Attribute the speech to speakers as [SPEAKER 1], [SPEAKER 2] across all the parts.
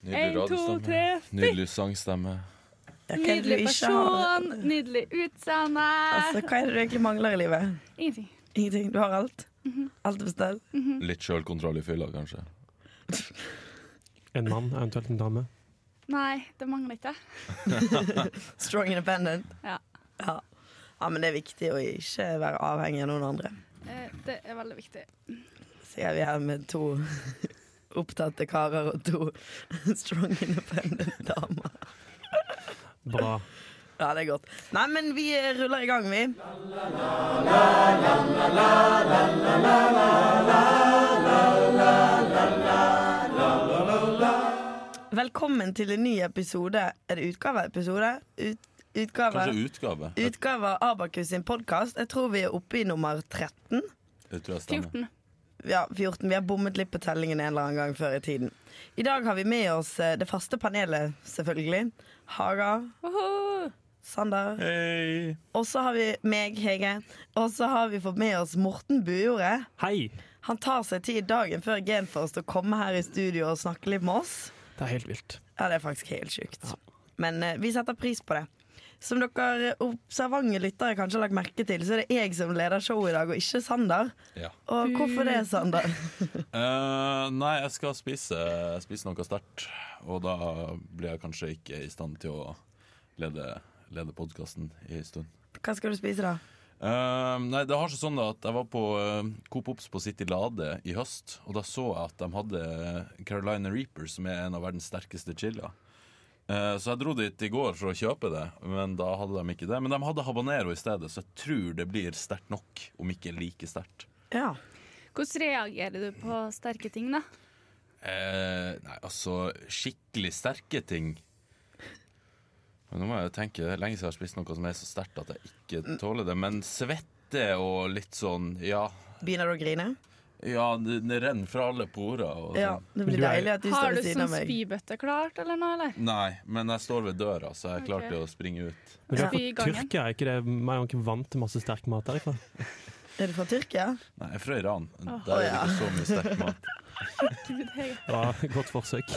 [SPEAKER 1] Nydelig
[SPEAKER 2] En, to,
[SPEAKER 1] radiostemme.
[SPEAKER 2] tre, fy-
[SPEAKER 1] Nydelig sangstemme.
[SPEAKER 3] Ja, hva er det du
[SPEAKER 2] Nydelig
[SPEAKER 3] ikke har?
[SPEAKER 2] person, nydelig utseende.
[SPEAKER 3] Altså, hva er det du egentlig mangler i livet?
[SPEAKER 2] Ingenting.
[SPEAKER 3] Ingenting. Du har alt.
[SPEAKER 2] Mhm.
[SPEAKER 3] Alt er på stell.
[SPEAKER 1] Litt sjølkontroll i fylla, kanskje.
[SPEAKER 4] En mann, eventuelt en dame.
[SPEAKER 2] Nei, det mangler ikke.
[SPEAKER 3] Strong independent.
[SPEAKER 2] Ja.
[SPEAKER 3] ja. Ja, men det er viktig å ikke være avhengig av noen andre.
[SPEAKER 2] Eh, Det er veldig viktig.
[SPEAKER 3] Så er vi her med to opptatte karer og to strong independent damer.
[SPEAKER 4] Bra.
[SPEAKER 3] Ja, det er godt. Nei, men vi eh, ruller i gang, vi. Velkommen til en ny episode. Er det utgave? Episode? Ut, utgave?
[SPEAKER 1] Kanskje utgave. Jeg,
[SPEAKER 3] Utgave av Abakus sin podkast. Jeg tror vi er oppe i nummer 13.
[SPEAKER 1] jeg tror jeg stemmer.
[SPEAKER 2] 14.
[SPEAKER 3] Ja, 14. Vi har bommet litt på tellingen en eller annen gang før i tiden. I dag har vi med oss eh, det faste panelet, selvfølgelig. Haga,
[SPEAKER 2] Woho!
[SPEAKER 3] Sander.
[SPEAKER 1] Hei!
[SPEAKER 3] Og så har vi meg, Hege. Og så har vi fått med oss Morten Bujordet.
[SPEAKER 4] Hei!
[SPEAKER 3] Han tar seg tid dagen før Genforce til å komme her i studio og snakke litt med oss.
[SPEAKER 4] Det er helt vilt.
[SPEAKER 3] Ja, det er faktisk helt sjukt. Men eh, vi setter pris på det. Som dere observante lyttere kanskje har lagt merke til, så er det jeg som leder showet i dag, og ikke Sander.
[SPEAKER 1] Ja.
[SPEAKER 3] Og hvorfor det, Sander?
[SPEAKER 1] Eh, nei, jeg skal spise, spise noe sterkt. Og da blir jeg kanskje ikke i stand til å lede, lede podkasten i en stund.
[SPEAKER 3] Hva skal du spise, da?
[SPEAKER 1] Eh, nei, det har seg sånn da at jeg var på eh, Coop Ops på City Lade i høst, og da så jeg at de hadde eh, Carolina Reaper, som er en av verdens sterkeste chiller. Eh, så jeg dro dit i går for å kjøpe det, men da hadde de ikke det. Men de hadde habanero i stedet, så jeg tror det blir sterkt nok, om ikke like sterkt.
[SPEAKER 3] Ja.
[SPEAKER 2] Hvordan reagerer du på sterke ting, da?
[SPEAKER 1] Eh, nei, altså skikkelig sterke ting. Men nå må jeg jo tenke, det er lenge siden jeg har spist noe som er så sterkt at jeg ikke tåler det. Men svette og litt sånn, ja.
[SPEAKER 3] Begynner du å grine?
[SPEAKER 1] Ja, det, det renner fra alle porer. Og
[SPEAKER 3] Ja,
[SPEAKER 1] sånn.
[SPEAKER 3] Det blir
[SPEAKER 4] Du er-
[SPEAKER 3] deilig at du
[SPEAKER 2] Har
[SPEAKER 3] står
[SPEAKER 2] du
[SPEAKER 3] ved siden
[SPEAKER 2] sånn
[SPEAKER 3] av meg.
[SPEAKER 2] spybøtte klart, eller noe? eller?
[SPEAKER 1] Nei, men jeg står ved døra, så jeg er klar
[SPEAKER 2] Ok.
[SPEAKER 1] til å springe ut.
[SPEAKER 4] Men vi
[SPEAKER 2] Ja.
[SPEAKER 4] er
[SPEAKER 2] I
[SPEAKER 4] fra
[SPEAKER 2] gangen.
[SPEAKER 4] Tyrkia, er ikke det? Man er jo ikke vant til masse sterk mat derifra.
[SPEAKER 3] Er du fra Tyrkia?
[SPEAKER 1] Nei, jeg er fra Iran. Der
[SPEAKER 3] Å,
[SPEAKER 1] er det
[SPEAKER 3] ja.
[SPEAKER 1] ikke så mye sterk mat.
[SPEAKER 2] Gud, Hege.
[SPEAKER 4] Ja, godt forsøk.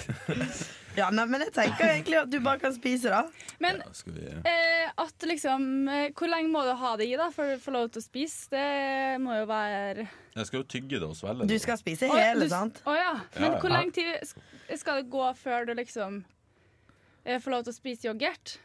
[SPEAKER 3] Ja, nei, men jeg tenker egentlig at du bare kan spise, da.
[SPEAKER 2] Men
[SPEAKER 1] Ja, skal vi...
[SPEAKER 2] eh, at liksom eh, Hvor lenge må du ha det i da for å få lov til å spise? Det må jo være
[SPEAKER 1] Jeg skal jo tygge det og svelge
[SPEAKER 3] Du
[SPEAKER 1] det.
[SPEAKER 3] skal spise
[SPEAKER 2] Å,
[SPEAKER 3] hele,
[SPEAKER 2] du-
[SPEAKER 3] sant?
[SPEAKER 2] Å ja. Men
[SPEAKER 1] Ja,
[SPEAKER 2] hvor
[SPEAKER 4] ja.
[SPEAKER 2] lenge tid sk- skal det gå før du liksom eh, får lov til å spise yoghurt?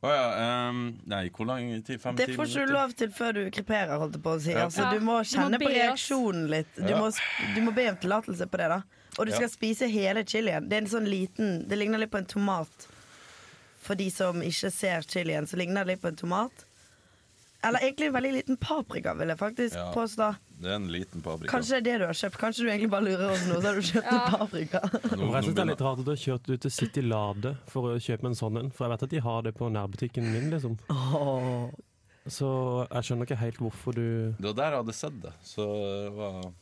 [SPEAKER 1] Å ja, ehm, nei, hvor lang tid? Fem
[SPEAKER 3] Det
[SPEAKER 1] ti
[SPEAKER 3] får ikke du
[SPEAKER 1] minutter?
[SPEAKER 3] lov til før du kreperer, holdt jeg på å si.
[SPEAKER 1] Ja.
[SPEAKER 3] Altså,
[SPEAKER 2] Ja,
[SPEAKER 3] du må
[SPEAKER 2] du må
[SPEAKER 3] kjenne
[SPEAKER 2] be
[SPEAKER 3] på
[SPEAKER 2] oss.
[SPEAKER 3] reaksjonen litt. Du
[SPEAKER 1] Ja.
[SPEAKER 3] må, sp- du må be om tillatelse på det, da. Og du
[SPEAKER 1] Ja.
[SPEAKER 3] skal spise hele chilien. Det er en sånn liten Det ligner litt på en tomat. For de som ikke ser chilien, så ligner det litt på en tomat. Eller egentlig en veldig liten paprika, vil jeg faktisk
[SPEAKER 1] Ja.
[SPEAKER 3] påstå.
[SPEAKER 1] Det er en liten paprika.
[SPEAKER 3] Kanskje det er det du har kjøpt. Kanskje du egentlig bare lurer oss nå, så har du kjøpt
[SPEAKER 2] Ja.
[SPEAKER 3] en paprika.
[SPEAKER 1] Nå,
[SPEAKER 4] Og
[SPEAKER 1] nå
[SPEAKER 4] jeg synes det er litt
[SPEAKER 1] begynner...
[SPEAKER 4] rart at du har kjørt ut til City Lade for å kjøpe en sånn en, for jeg vet at de har det på nærbutikken min, liksom.
[SPEAKER 3] Åh.
[SPEAKER 4] Så jeg skjønner ikke helt hvorfor du
[SPEAKER 1] Det var der jeg hadde sett det, så det var...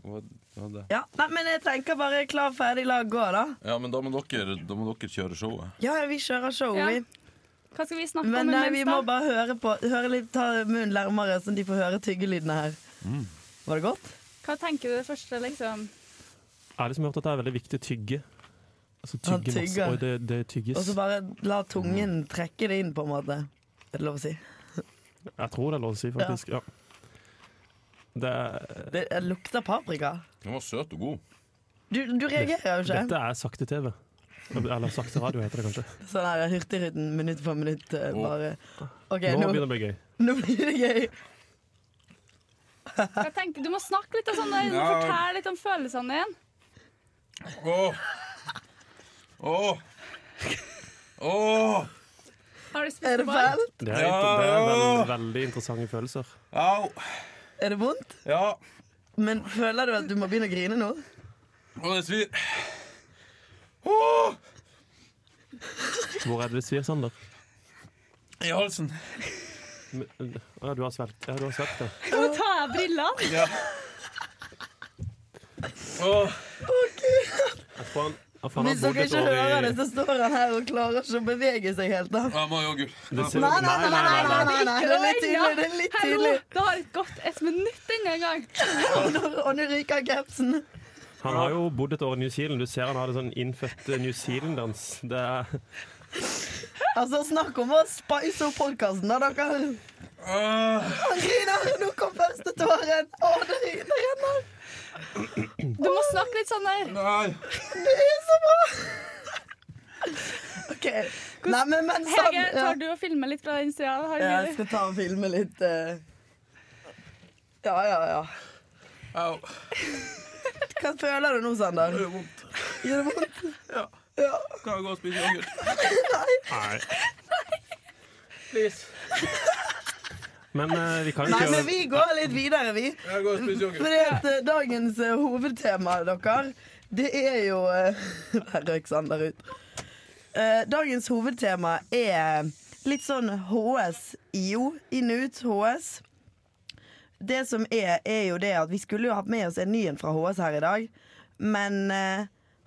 [SPEAKER 1] Hva hva var det?
[SPEAKER 3] Ja, nei, men jeg tenker bare klar, ferdig, la gå, da.
[SPEAKER 1] Ja, men da må dere, da må dere kjøre showet.
[SPEAKER 3] Ja, ja, vi kjører show,
[SPEAKER 2] Ja.
[SPEAKER 3] vi.
[SPEAKER 2] Hva skal vi snakke
[SPEAKER 3] Men
[SPEAKER 2] om
[SPEAKER 3] nei,
[SPEAKER 2] imens,
[SPEAKER 3] vi
[SPEAKER 2] da?
[SPEAKER 3] må bare høre på. Høre litt, ta munnen nærmere, så de får høre tyggelydene her. Var det godt?
[SPEAKER 2] Hva tenker du det første, liksom?
[SPEAKER 4] Jeg har liksom hørt at det er veldig viktig å tygge. Altså
[SPEAKER 3] Han
[SPEAKER 4] tygge masse.
[SPEAKER 3] tygger.
[SPEAKER 4] Og det, det
[SPEAKER 3] Og
[SPEAKER 4] tygges.
[SPEAKER 3] så bare la tungen trekke det inn, på en måte. Er det lov å si?
[SPEAKER 4] Jeg tror det er lov å si, faktisk. Ja. Det er,
[SPEAKER 3] Det det lukter paprika.
[SPEAKER 1] Den var søt og god.
[SPEAKER 3] Du, du reagerer jo ikke.
[SPEAKER 4] dette er sakte-TV. Eller sakte-radio, heter det kanskje.
[SPEAKER 3] Sånn her Hurtigruten minutt for minutt. eh,
[SPEAKER 1] Åh.
[SPEAKER 3] Bare OK,
[SPEAKER 4] Nå
[SPEAKER 3] nå,
[SPEAKER 4] begynner det å bli gøy.
[SPEAKER 3] nå blir det gøy.
[SPEAKER 2] Hva tenker, du må snakke litt om sånn, du må
[SPEAKER 1] Ja.
[SPEAKER 2] fortelle litt om følelsene dine.
[SPEAKER 1] Åh! Åh! Åh!
[SPEAKER 2] Har du spist
[SPEAKER 3] Er det
[SPEAKER 2] barn?
[SPEAKER 3] fælt?
[SPEAKER 4] Det er,
[SPEAKER 1] Ja,
[SPEAKER 4] det er
[SPEAKER 1] ja.
[SPEAKER 4] veld, veldig interessante følelser.
[SPEAKER 1] Au!
[SPEAKER 3] Er det vondt?
[SPEAKER 1] Ja!
[SPEAKER 3] Men føler du at du må begynne å grine nå?
[SPEAKER 1] Og det svir. Åh!
[SPEAKER 4] Hvor er det det svir, Sander?
[SPEAKER 1] I halsen.
[SPEAKER 4] Men- Ja, du har svelgt. Ja, du har svelgt det.
[SPEAKER 2] Kan du ta av brillene?
[SPEAKER 1] Ja. Åh.
[SPEAKER 4] Jeg tror han, jeg tror han
[SPEAKER 3] Hvis
[SPEAKER 4] har bodd
[SPEAKER 3] dere
[SPEAKER 4] et
[SPEAKER 3] ikke hører
[SPEAKER 4] år
[SPEAKER 3] det,
[SPEAKER 4] i
[SPEAKER 3] så står han her og klarer ikke å bevege seg helt. da
[SPEAKER 1] Jeg må ha yoghurt.
[SPEAKER 4] det ser,
[SPEAKER 3] Nei, nei, nei, nei, nei, nei, nei. det er litt tydelig. Det er litt
[SPEAKER 2] Hallo,
[SPEAKER 3] tydelig
[SPEAKER 2] det har gått et minutt ennå en gang.
[SPEAKER 3] Og nå- Og nå ryker capsen.
[SPEAKER 4] Han har jo bodd et år i New Zealand. Du ser han har det sånn innfødt eh, New Zealand-dans. Det er
[SPEAKER 3] Altså, snakk om å spice opp podkasten, da, dere. Å, Griner! Nå kom første tåren! Å, det renner!
[SPEAKER 2] Du må snakke litt sånn der.
[SPEAKER 1] Nei.
[SPEAKER 3] Det er så bra! OK. Nei, men, men sånn
[SPEAKER 2] Hege,
[SPEAKER 3] ja.
[SPEAKER 2] tar du og filmer litt fra den sida? Har du
[SPEAKER 3] Ja, Jeg
[SPEAKER 2] mulighet?
[SPEAKER 3] skal ta og filme litt. eh. Ja, ja, ja.
[SPEAKER 1] Au.
[SPEAKER 3] Hva føler du nå, Sander?
[SPEAKER 1] Det gjør vondt.
[SPEAKER 3] Gjør det vondt?
[SPEAKER 1] Ja.
[SPEAKER 3] Ja.
[SPEAKER 1] Kan jeg gå og spise yoghurt?
[SPEAKER 4] Nei.
[SPEAKER 1] Please.
[SPEAKER 4] Men eh, vi kan jo
[SPEAKER 3] Nei, men
[SPEAKER 4] kjøre
[SPEAKER 3] vi går litt videre, vi.
[SPEAKER 1] Jeg går og spiser yoghurt.
[SPEAKER 3] Fordi at eh, dagens eh, hovedtema, dere, det er jo eh, Der røk Sander ut. Eh, dagens hovedtema er litt sånn HS, IO, Inut, HS. Det som er, er jo det at vi skulle jo hatt med oss en ny en fra HS her i dag, men eh,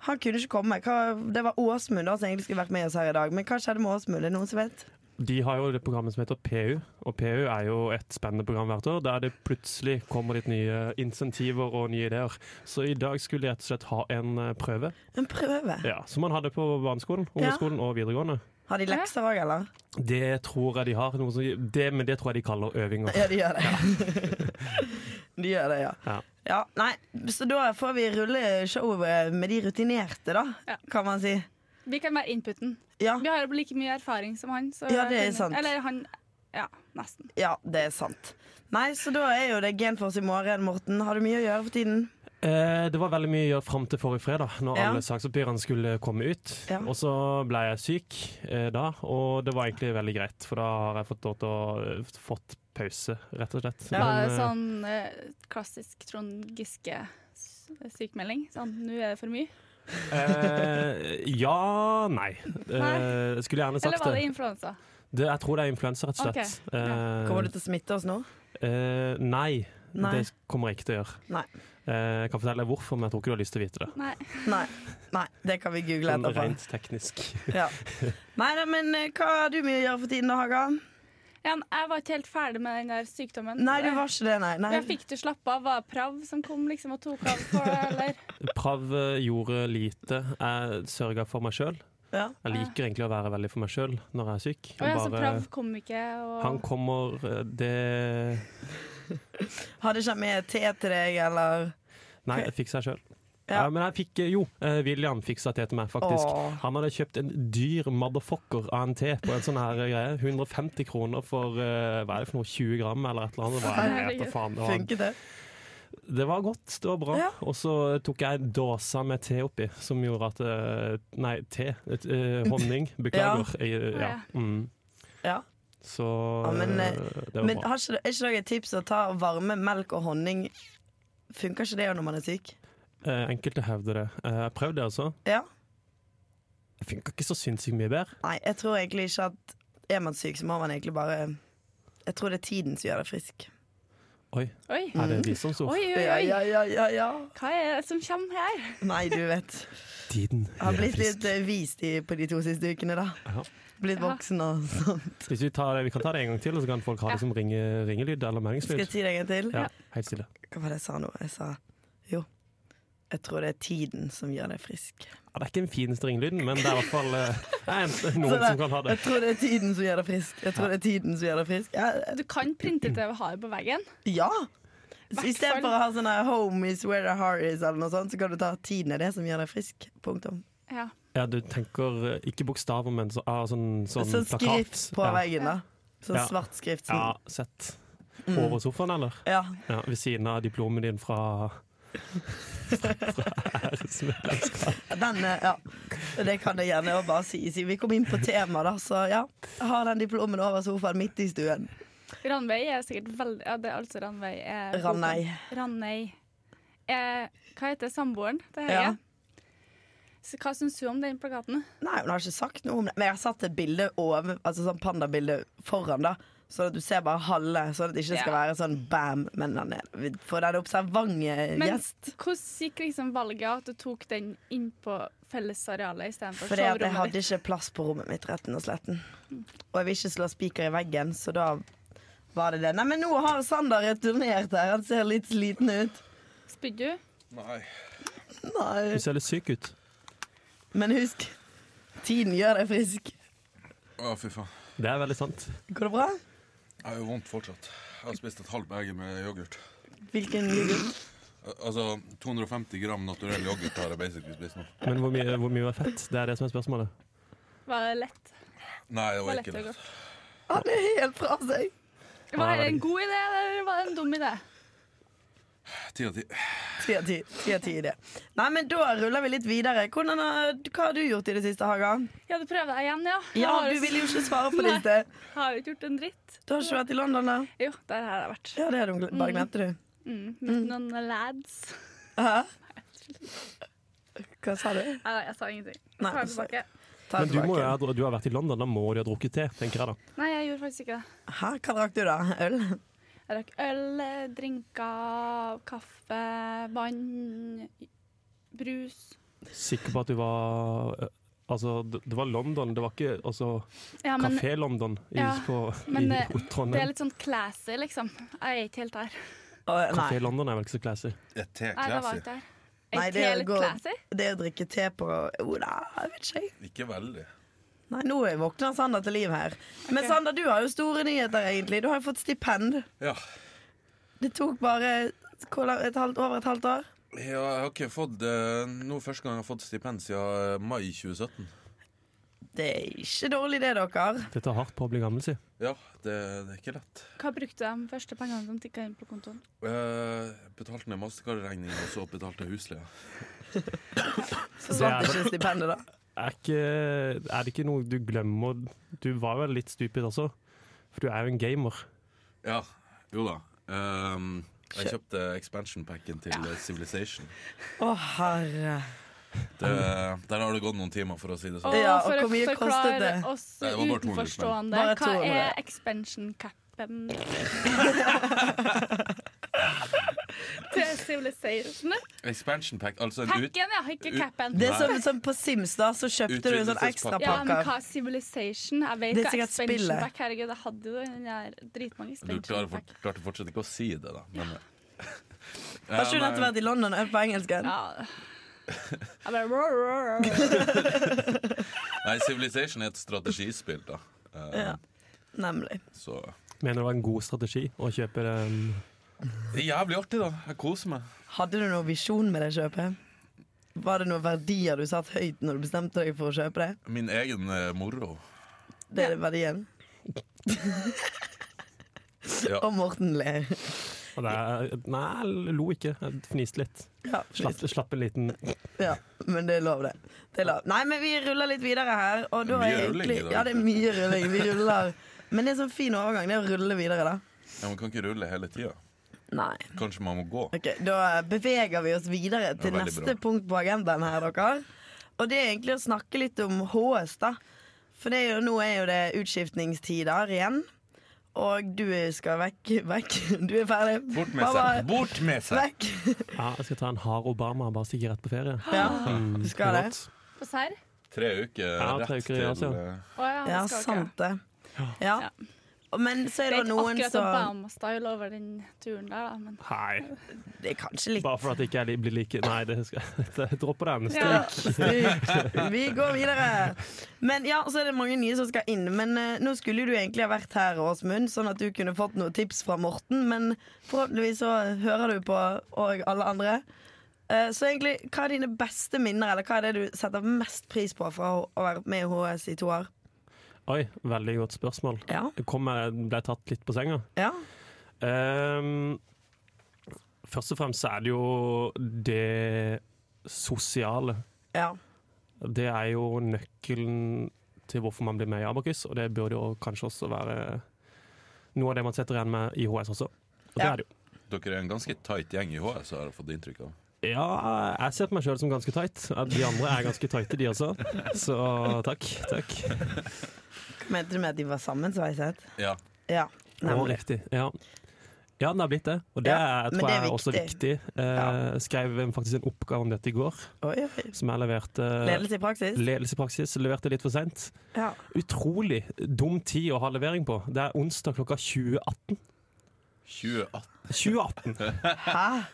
[SPEAKER 3] han kunne ikke komme. Hva, det var Åsmund da som egentlig skulle vært med oss her i dag, men hva skjedde med Åsmund? Er det noen som vet?
[SPEAKER 4] De har jo det programmet som heter PU, og PU er jo et spennende program hvert år, der det plutselig kommer litt nye insentiver og nye ideer. Så i dag skulle de rett og slett ha en eh, prøve,
[SPEAKER 3] En prøve.
[SPEAKER 4] ja, som man hadde på barneskolen,
[SPEAKER 3] Ja.
[SPEAKER 4] ungdomsskolen og videregående.
[SPEAKER 3] Har de lekser òg, eller?
[SPEAKER 4] Det tror jeg de har, noe som, det, men det tror jeg de kaller øvinger.
[SPEAKER 3] Ja, de gjør det. de gjør det, ja.
[SPEAKER 4] Ja.
[SPEAKER 3] ja. Nei, så da får vi rulle showet eh, med de rutinerte, da,
[SPEAKER 2] Ja.
[SPEAKER 3] kan man si.
[SPEAKER 2] Vi kan være inputen.
[SPEAKER 3] Ja,
[SPEAKER 2] Vi har jo like mye erfaring som han. Så
[SPEAKER 3] Ja, det er sant.
[SPEAKER 2] Eller han Ja, nesten.
[SPEAKER 3] ja, det er sant. Nei, så da er jo det Genfors i morgen, Morten. Har du mye å gjøre for tiden?
[SPEAKER 4] Eh, det var veldig mye å gjøre fram til forrige fredag, når
[SPEAKER 3] Ja.
[SPEAKER 4] alle saksopirene skulle komme ut.
[SPEAKER 3] Ja.
[SPEAKER 4] Og så ble jeg syk eh, da, og det var egentlig veldig greit, for da har jeg fått lov til å eh, fått pause, rett og slett.
[SPEAKER 2] Var
[SPEAKER 4] Men,
[SPEAKER 2] det
[SPEAKER 4] eh,
[SPEAKER 2] sånn eh, klassisk Trond Giske-sykmelding? Sånn, nå er det for mye?
[SPEAKER 4] Eh, ja Nei. Eh, skulle gjerne
[SPEAKER 2] Eller
[SPEAKER 4] sagt
[SPEAKER 2] var det
[SPEAKER 4] det.
[SPEAKER 2] influensa?
[SPEAKER 4] det. Jeg tror det er influensa, rett og
[SPEAKER 2] Ok,
[SPEAKER 4] slett. Eh,
[SPEAKER 3] Kommer du til å smitte oss nå?
[SPEAKER 4] eh, nei,
[SPEAKER 3] Nei.
[SPEAKER 4] det kommer jeg ikke til å gjøre.
[SPEAKER 3] Nei.
[SPEAKER 4] Eh, jeg kan fortelle deg hvorfor, men jeg tror ikke du har lyst til å vite det.
[SPEAKER 2] Nei.
[SPEAKER 3] Nei, Nei det kan vi google
[SPEAKER 4] Sånn
[SPEAKER 3] etterpå.
[SPEAKER 4] rent teknisk.
[SPEAKER 3] Ja. Nei da, men eh, hva har du mye å gjøre for tiden da, Haga?
[SPEAKER 2] Ja, jeg var ikke helt ferdig med den der sykdommen.
[SPEAKER 3] Nei, du var ikke det, nei. nei.
[SPEAKER 2] Men Jeg fikk til å slappe av. Var det Prav som kom liksom og tok av for det, eller?
[SPEAKER 4] Prav eh, gjorde lite. Jeg sørga for meg sjøl.
[SPEAKER 3] Ja.
[SPEAKER 4] Jeg liker egentlig å være veldig for meg sjøl når jeg er syk.
[SPEAKER 2] Og jeg så
[SPEAKER 4] Bare-
[SPEAKER 2] Prav kom ikke, og
[SPEAKER 4] han kommer eh, Det
[SPEAKER 3] Hadde ikke med te til deg, eller?
[SPEAKER 4] Nei, jeg fikk seg sjøl. Ja.
[SPEAKER 3] Ja.
[SPEAKER 4] men jeg fikk eh, Jo, eh, William fiksa te til meg, faktisk.
[SPEAKER 3] Åh.
[SPEAKER 4] Han hadde kjøpt en dyr motherfucker av en te på en sånn her eh, greie. 150 kroner for eh, hva er det for noe, 20 gram eller et eller annet. Det var, jeg vet da faen, det, var,
[SPEAKER 3] Funket det?
[SPEAKER 4] det var godt, det var bra.
[SPEAKER 3] Ja.
[SPEAKER 4] Og så eh, tok jeg en dåse med te oppi, som gjorde at eh, Nei, te. Et, eh, honning. Beklager. Jeg, eh, ja.
[SPEAKER 2] Ja.
[SPEAKER 4] Mm.
[SPEAKER 3] Ja.
[SPEAKER 4] Så
[SPEAKER 3] Ja, men, eh,
[SPEAKER 4] eh, det var
[SPEAKER 3] Men
[SPEAKER 4] bra.
[SPEAKER 3] har ikke, er ikke det et tips å ta varme melk og honning? Funker ikke det når man er syk?
[SPEAKER 4] Eh, enkelte hevder det. Eh, Jeg prøvde det, altså.
[SPEAKER 3] Ja?
[SPEAKER 4] Det funka ikke så sinnssykt mye bedre.
[SPEAKER 3] Nei, jeg tror egentlig ikke at er man syk, så må man egentlig bare Jeg tror det er tiden som gjør deg frisk.
[SPEAKER 4] Oi,
[SPEAKER 2] Oi.
[SPEAKER 4] er
[SPEAKER 3] Mm.
[SPEAKER 4] det visdomsord?
[SPEAKER 2] Oi, oi,
[SPEAKER 3] Ja, ja,
[SPEAKER 2] oi.
[SPEAKER 3] ja, ja, ja.
[SPEAKER 2] Hva er det som kommer her?
[SPEAKER 3] Nei, du vet.
[SPEAKER 4] Tiden
[SPEAKER 3] Jeg har
[SPEAKER 4] gjør
[SPEAKER 3] blitt
[SPEAKER 4] frisk.
[SPEAKER 3] litt eh, vist i, på de to siste ukene, da.
[SPEAKER 4] Ja.
[SPEAKER 3] Blitt
[SPEAKER 2] Ja.
[SPEAKER 3] voksen og sånn.
[SPEAKER 4] Hvis vi, tar det, vi kan ta det en gang til, og så kan folk ha det som ringe, ringelyd eller
[SPEAKER 3] Skal jeg
[SPEAKER 4] meldingslyd.
[SPEAKER 3] si det en gang til?
[SPEAKER 4] Ja, helt stille.
[SPEAKER 3] Hva var det jeg sa nå? Jeg sa jo, jeg tror det er tiden som gjør deg frisk.
[SPEAKER 4] Ja, det er ikke den fineste ringelyden, men det er i hvert fall eh, det er en- noen
[SPEAKER 3] Så det-
[SPEAKER 4] som kan ha det.
[SPEAKER 3] Jeg tror det er tiden som gjør deg frisk. Jeg tror det er tiden som gjør deg frisk. Ja,
[SPEAKER 2] Du kan printe ut det vi har på veggen.
[SPEAKER 3] Ja!
[SPEAKER 2] Hvert
[SPEAKER 3] Istedenfor å ha sånne 'home is where the heart is' eller noe sånt, så kan du ta 'tiden er det som gjør deg frisk'. Punktum.
[SPEAKER 2] Ja.
[SPEAKER 4] Ja, du tenker eh, ikke bokstaver, men så, ah, sånn, sånn,
[SPEAKER 3] Sånn
[SPEAKER 4] plakat.
[SPEAKER 3] skrift på
[SPEAKER 4] ja.
[SPEAKER 3] veggen, da. Sånn
[SPEAKER 4] Ja.
[SPEAKER 3] svart skrift.
[SPEAKER 4] Ja,
[SPEAKER 2] sånn.
[SPEAKER 3] Som,
[SPEAKER 4] sett.
[SPEAKER 2] Mm.
[SPEAKER 4] Over sofaen, eller?
[SPEAKER 3] ja.
[SPEAKER 4] Ja, ved siden av diplomet din fra fra æresmedlemskap.
[SPEAKER 3] Den, eh, ja. Det kan jeg gjerne bare si. Siden vi kom inn på tema, da, så ja. Jeg har den diplomen over sofaen midt i stuen.
[SPEAKER 2] Ranveig er sikkert veldig Ja, det er altså Ranveig. er-
[SPEAKER 3] Ranei.
[SPEAKER 2] Ranei. Eh, hva heter samboeren til Høie?
[SPEAKER 3] Ja.
[SPEAKER 2] Så hva syns hun om den plakaten?
[SPEAKER 3] Nei, hun har ikke sagt noe om det. Men jeg har satt et bilde over, altså sånn pandabilde foran, da. Sånn at du ser bare halve, sånn at det ikke skal
[SPEAKER 2] Ja.
[SPEAKER 3] være sånn bam, men den er For den observante
[SPEAKER 2] Men
[SPEAKER 3] gjest.
[SPEAKER 2] hvordan gikk liksom valget at du tok den inn på fellesarealet istedenfor
[SPEAKER 3] Fordi at jeg
[SPEAKER 2] soverommet
[SPEAKER 3] hadde
[SPEAKER 2] ditt?
[SPEAKER 3] ikke plass på rommet mitt, retten og sletten. Og jeg vil ikke slå spiker i veggen, så da var det det. Nei, men nå har Sander returnert her. Han ser litt sliten ut.
[SPEAKER 2] Spydde du?
[SPEAKER 1] Nei.
[SPEAKER 3] Nei.
[SPEAKER 4] Du ser litt syk ut.
[SPEAKER 3] Men husk, tiden gjør deg frisk.
[SPEAKER 1] Å, fy faen.
[SPEAKER 4] Det er veldig sant.
[SPEAKER 3] Går det bra?
[SPEAKER 1] Jeg har jo vondt fortsatt. Jeg har spist et halvt begge med yoghurt.
[SPEAKER 3] Hvilken yoghurt?
[SPEAKER 1] Al- Altså 250 gram naturell yoghurt har jeg basically spist nå.
[SPEAKER 4] Men hvor mye, hvor mye er fett? Det er det som er spørsmålet.
[SPEAKER 2] Var det lett?
[SPEAKER 1] Nei, det
[SPEAKER 2] Var
[SPEAKER 1] var
[SPEAKER 2] lett
[SPEAKER 1] ikke
[SPEAKER 2] og
[SPEAKER 1] det.
[SPEAKER 2] godt.
[SPEAKER 3] Han er helt fra seg.
[SPEAKER 2] Var det en god idé, eller var det en dum idé?
[SPEAKER 1] Ti av ti.
[SPEAKER 3] Ti av ti. Ti av ti i det. Nei, men da ruller vi litt videre. Hvordan, har- hva har du gjort i det siste, Haga?
[SPEAKER 2] Ja, du prøvde deg igjen, ja. Jeg
[SPEAKER 3] Ja,
[SPEAKER 2] har
[SPEAKER 3] du
[SPEAKER 2] jo-
[SPEAKER 3] ville jo ikke svare på det
[SPEAKER 2] Nei.
[SPEAKER 3] i sted.
[SPEAKER 2] Har jo ikke gjort en dritt.
[SPEAKER 3] Du har ikke vært i London, da?
[SPEAKER 2] Jo, der har jeg vært.
[SPEAKER 3] Ja, det har du gle- bare glemt, du.
[SPEAKER 2] Mm. Møtt noen lads.
[SPEAKER 3] Hæ? Hva sa du?
[SPEAKER 2] Nei, nei, jeg sa ingenting. Ta
[SPEAKER 3] Nei,
[SPEAKER 2] det
[SPEAKER 3] sorry.
[SPEAKER 2] tilbake.
[SPEAKER 3] Ta
[SPEAKER 4] Men
[SPEAKER 3] det
[SPEAKER 4] du, må, jo
[SPEAKER 3] tilbake.
[SPEAKER 4] ha- du har vært i London, da må du ha drukket te, tenker jeg da.
[SPEAKER 2] Nei, jeg gjorde faktisk ikke det.
[SPEAKER 3] Hæ, hva drakk du, da? Øl?
[SPEAKER 2] Jeg drakk øl, eh, drinker, kaffe, vann, brus.
[SPEAKER 4] Sikker på at du var eh, Altså, det det var London, det var ikke altså,
[SPEAKER 2] Ja, men
[SPEAKER 4] Kafé London i,
[SPEAKER 2] Ja,
[SPEAKER 4] på,
[SPEAKER 2] men,
[SPEAKER 4] i
[SPEAKER 2] eh, det er
[SPEAKER 4] Trondheim.
[SPEAKER 2] litt sånn classy, liksom. Jeg er ikke helt der.
[SPEAKER 3] Å,
[SPEAKER 4] Kafé
[SPEAKER 3] nei.
[SPEAKER 4] London er vel ikke så classy.
[SPEAKER 1] Et te
[SPEAKER 2] Nei, det var
[SPEAKER 1] classy.
[SPEAKER 2] ikke der.
[SPEAKER 3] Nei,
[SPEAKER 2] Er
[SPEAKER 3] det
[SPEAKER 2] te litt
[SPEAKER 3] går-
[SPEAKER 2] classy?
[SPEAKER 3] Det å drikke te på Jo da, jeg vet ikke. jeg.
[SPEAKER 1] Ikke veldig.
[SPEAKER 3] Nei, nå våkner Sander til liv her. Men
[SPEAKER 2] Ok.
[SPEAKER 3] Sander, du har jo store nyheter, egentlig. Du har jo fått stipend.
[SPEAKER 1] Ja.
[SPEAKER 3] Det tok bare hvor lang- et halvt, over et halvt år.
[SPEAKER 1] Ja, Jeg har ikke fått eh, Nå første gang jeg har fått stipend siden eh, mai 2017.
[SPEAKER 3] Det er ikke dårlig, det, dere.
[SPEAKER 4] Det tar hardt på å bli gammel, si.
[SPEAKER 1] Ja, det, det er ikke lett.
[SPEAKER 2] Hva brukte de første pengene som tikka inn på kontoen?
[SPEAKER 1] Uh, betalte ned mastercard-regning, og så betalte jeg husleia.
[SPEAKER 3] Forsvant
[SPEAKER 4] Det er-
[SPEAKER 3] ikke stipendet, da.
[SPEAKER 4] Er, ikke, er det ikke noe du glemmer Du var vel litt stupid også, for du er jo en gamer.
[SPEAKER 1] Ja, jo da. Ehm, jeg kjøpte expansion-packen til eh, Civilization.
[SPEAKER 3] Å, herre.
[SPEAKER 1] Det, der har det gått noen timer, for å si det sånn.
[SPEAKER 3] Ja,
[SPEAKER 2] for å
[SPEAKER 3] og hvor mye
[SPEAKER 2] forklare
[SPEAKER 3] kostet det?
[SPEAKER 2] Oss
[SPEAKER 1] Nei, det var bare 200 spenn.
[SPEAKER 2] utenforstående.
[SPEAKER 3] Bare
[SPEAKER 2] Hva
[SPEAKER 3] 200.
[SPEAKER 2] er expansion capen? det er civilization.
[SPEAKER 1] Expansion-pack, altså en ut...
[SPEAKER 2] Packen, ja, ikke capen.
[SPEAKER 3] Det er
[SPEAKER 1] Nei.
[SPEAKER 3] som, som på Sims, da, så kjøpte du en sånn
[SPEAKER 1] Utvidelsespakke.
[SPEAKER 2] Ja, men
[SPEAKER 3] ekstrapakke.
[SPEAKER 2] hva er civilization? Jeg vet
[SPEAKER 3] Det er
[SPEAKER 2] hva
[SPEAKER 3] sikkert
[SPEAKER 2] expansion
[SPEAKER 3] spillet.
[SPEAKER 2] pack Herregud, jeg hadde jo den der dritmange
[SPEAKER 1] Du klarer,
[SPEAKER 2] expansion
[SPEAKER 1] for,
[SPEAKER 2] pack.
[SPEAKER 1] klarte fortsatt ikke å si det, da. Men,
[SPEAKER 3] Har ikke du
[SPEAKER 1] Ja,
[SPEAKER 3] nettopp
[SPEAKER 1] nei,
[SPEAKER 3] vært i London og øvd på engelsken?
[SPEAKER 2] Ja. Jeg bare rå, rå, rå.
[SPEAKER 1] nei, Civilization er et strategispill, da. Eh,
[SPEAKER 3] Ja. Nemlig.
[SPEAKER 1] Så
[SPEAKER 4] Mener det var en god strategi å kjøpe den
[SPEAKER 1] Det er jævlig artig, da. Jeg koser meg.
[SPEAKER 3] Hadde du noen visjon med det kjøpet? Var det noen verdier du satt høyt når du bestemte deg for å kjøpe det?
[SPEAKER 1] Min egen eh, moro.
[SPEAKER 3] Det er verdien.
[SPEAKER 1] Ja.
[SPEAKER 3] Og Morten ler.
[SPEAKER 4] og det er, Nei, jeg lo ikke. Jeg fniste litt.
[SPEAKER 3] Ja,
[SPEAKER 4] Slapp, slapp en liten
[SPEAKER 3] ja, men det er lov, det. det er lov. Nei, men vi ruller litt videre her. Og da
[SPEAKER 1] Mye
[SPEAKER 3] er
[SPEAKER 1] rulling
[SPEAKER 3] egentlig,
[SPEAKER 1] i dag.
[SPEAKER 3] ja, det er mye rulling. Vi ruller. Men det er sånn fin overgang, det er å rulle videre, da.
[SPEAKER 1] Ja, man kan ikke rulle hele tida.
[SPEAKER 3] Nei.
[SPEAKER 1] Kanskje man må gå.
[SPEAKER 3] Ok, Da beveger vi oss videre til
[SPEAKER 1] veldig
[SPEAKER 3] neste
[SPEAKER 1] bra.
[SPEAKER 3] punkt på agendaen her, dere. Og det er egentlig å snakke litt om HS, da. For det er jo, nå er jo det utskiftningstider igjen. Og du skal vekk, vekk. Du er ferdig.
[SPEAKER 1] Bort med seg!
[SPEAKER 3] Pappa,
[SPEAKER 1] Bort med seg!
[SPEAKER 3] Vekk.
[SPEAKER 4] Ja, jeg skal ta en hard Obama, bare stikke rett på ferie.
[SPEAKER 3] Ja, du skal det.
[SPEAKER 4] Godt.
[SPEAKER 2] På serr?
[SPEAKER 1] Tre uker
[SPEAKER 4] Ja, tre
[SPEAKER 1] rett
[SPEAKER 4] uker i Asia.
[SPEAKER 1] til eh,
[SPEAKER 2] Å ja,
[SPEAKER 3] Ja,
[SPEAKER 2] han skal ikke.
[SPEAKER 3] sant det. Ja.
[SPEAKER 2] Ja.
[SPEAKER 3] Men så er
[SPEAKER 2] Det
[SPEAKER 3] det
[SPEAKER 2] er ikke
[SPEAKER 3] noen
[SPEAKER 2] akkurat
[SPEAKER 3] som
[SPEAKER 2] Obama-style over den turen der, da, men
[SPEAKER 4] Hei.
[SPEAKER 3] Det er kanskje litt
[SPEAKER 4] Bare for at jeg ikke jeg blir like Nei, det skal jeg dropper den.
[SPEAKER 2] Ja.
[SPEAKER 3] Stryk. Vi går videre. Men ja, så er det mange nye som skal inn. Men eh, nå skulle jo du egentlig ha vært her, Åsmund, sånn at du kunne fått noen tips fra Morten. Men forhåpentligvis så hører du på, og alle andre. Eh, så egentlig, hva er dine beste minner, eller hva er det du setter mest pris på fra å å være med i HS i to år?
[SPEAKER 4] Oi, veldig godt spørsmål.
[SPEAKER 3] Ja.
[SPEAKER 4] Jeg kom, jeg ble tatt litt på senga.
[SPEAKER 3] ja.
[SPEAKER 4] Ehm, først og fremst så er det jo det sosiale.
[SPEAKER 3] ja.
[SPEAKER 4] Det er jo nøkkelen til hvorfor man blir med i Abakus, og det burde jo kanskje også være noe av det man setter igjen med i HS også. Og det
[SPEAKER 3] Ja.
[SPEAKER 4] er det jo.
[SPEAKER 1] Dere er en ganske tight gjeng i HS, har jeg fått inntrykk av.
[SPEAKER 4] Ja, jeg ser på meg sjøl som ganske tight. At De andre er ganske tighte, de også. Så takk. takk.
[SPEAKER 3] Mente du med at de var sammensveiset?
[SPEAKER 1] Ja.
[SPEAKER 3] Ja.
[SPEAKER 4] Og
[SPEAKER 3] Nemlig.
[SPEAKER 4] riktig. Ja. ja, den har blitt det. Og det
[SPEAKER 3] Ja,
[SPEAKER 4] er,
[SPEAKER 3] men
[SPEAKER 4] tror
[SPEAKER 3] det er
[SPEAKER 4] jeg er også
[SPEAKER 3] viktig.
[SPEAKER 4] viktig. Eh,
[SPEAKER 3] Ja.
[SPEAKER 4] Skrev en- faktisk en oppgave om dette i går,
[SPEAKER 3] Oi, Eh, oi.
[SPEAKER 4] som jeg leverte
[SPEAKER 3] Ledelse i praksis?
[SPEAKER 4] Ledelse i praksis. Leverte litt for seint.
[SPEAKER 3] Ja.
[SPEAKER 4] Utrolig dum tid å ha levering på. Det er onsdag klokka 2018.
[SPEAKER 1] 2018.
[SPEAKER 4] 2018!
[SPEAKER 3] Hæ?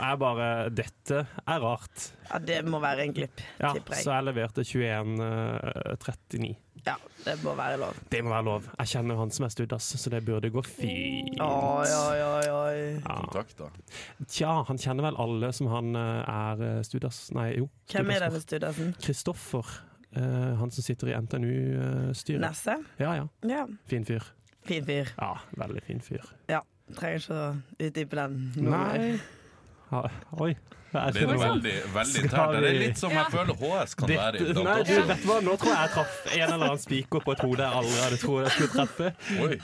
[SPEAKER 4] Jeg bare Dette er rart.
[SPEAKER 3] Ja, det må være en glipp,
[SPEAKER 4] Ja,
[SPEAKER 3] tipper
[SPEAKER 4] så
[SPEAKER 3] jeg.
[SPEAKER 4] jeg leverte 21.39.
[SPEAKER 3] Ja, det må være lov.
[SPEAKER 4] Det må være lov. Jeg kjenner jo han som er studas, så det burde gå fint.
[SPEAKER 3] Oi, oi, oi, oi.
[SPEAKER 4] Ja.
[SPEAKER 1] Kontakter.
[SPEAKER 4] Tja, han kjenner vel alle som han eh, er eh, studas Nei, jo.
[SPEAKER 3] Hvem er
[SPEAKER 4] studas
[SPEAKER 3] denne studenten?
[SPEAKER 4] for. Kristoffer. eh, han som sitter i NTNU-styret.
[SPEAKER 3] Nesse?
[SPEAKER 4] eh, ja, ja.
[SPEAKER 3] Ja.
[SPEAKER 4] Fin fyr.
[SPEAKER 3] Fin fyr.
[SPEAKER 4] Ja, veldig fin fyr.
[SPEAKER 3] Trenger ikke å utdype den. nå.
[SPEAKER 4] Nei ja, Oi. Jeg
[SPEAKER 1] Det er
[SPEAKER 4] tror-
[SPEAKER 1] veldig, veldig
[SPEAKER 4] Skal
[SPEAKER 1] internt. Det er
[SPEAKER 4] vi-
[SPEAKER 1] litt som jeg føler HS kan
[SPEAKER 4] Dette-
[SPEAKER 1] være iblant
[SPEAKER 4] nei, du,
[SPEAKER 1] også.
[SPEAKER 4] vet du hva? Nå tror jeg jeg traff en eller annen spiker på et hode jeg aldri hadde trodd jeg skulle treffe.
[SPEAKER 1] Oi.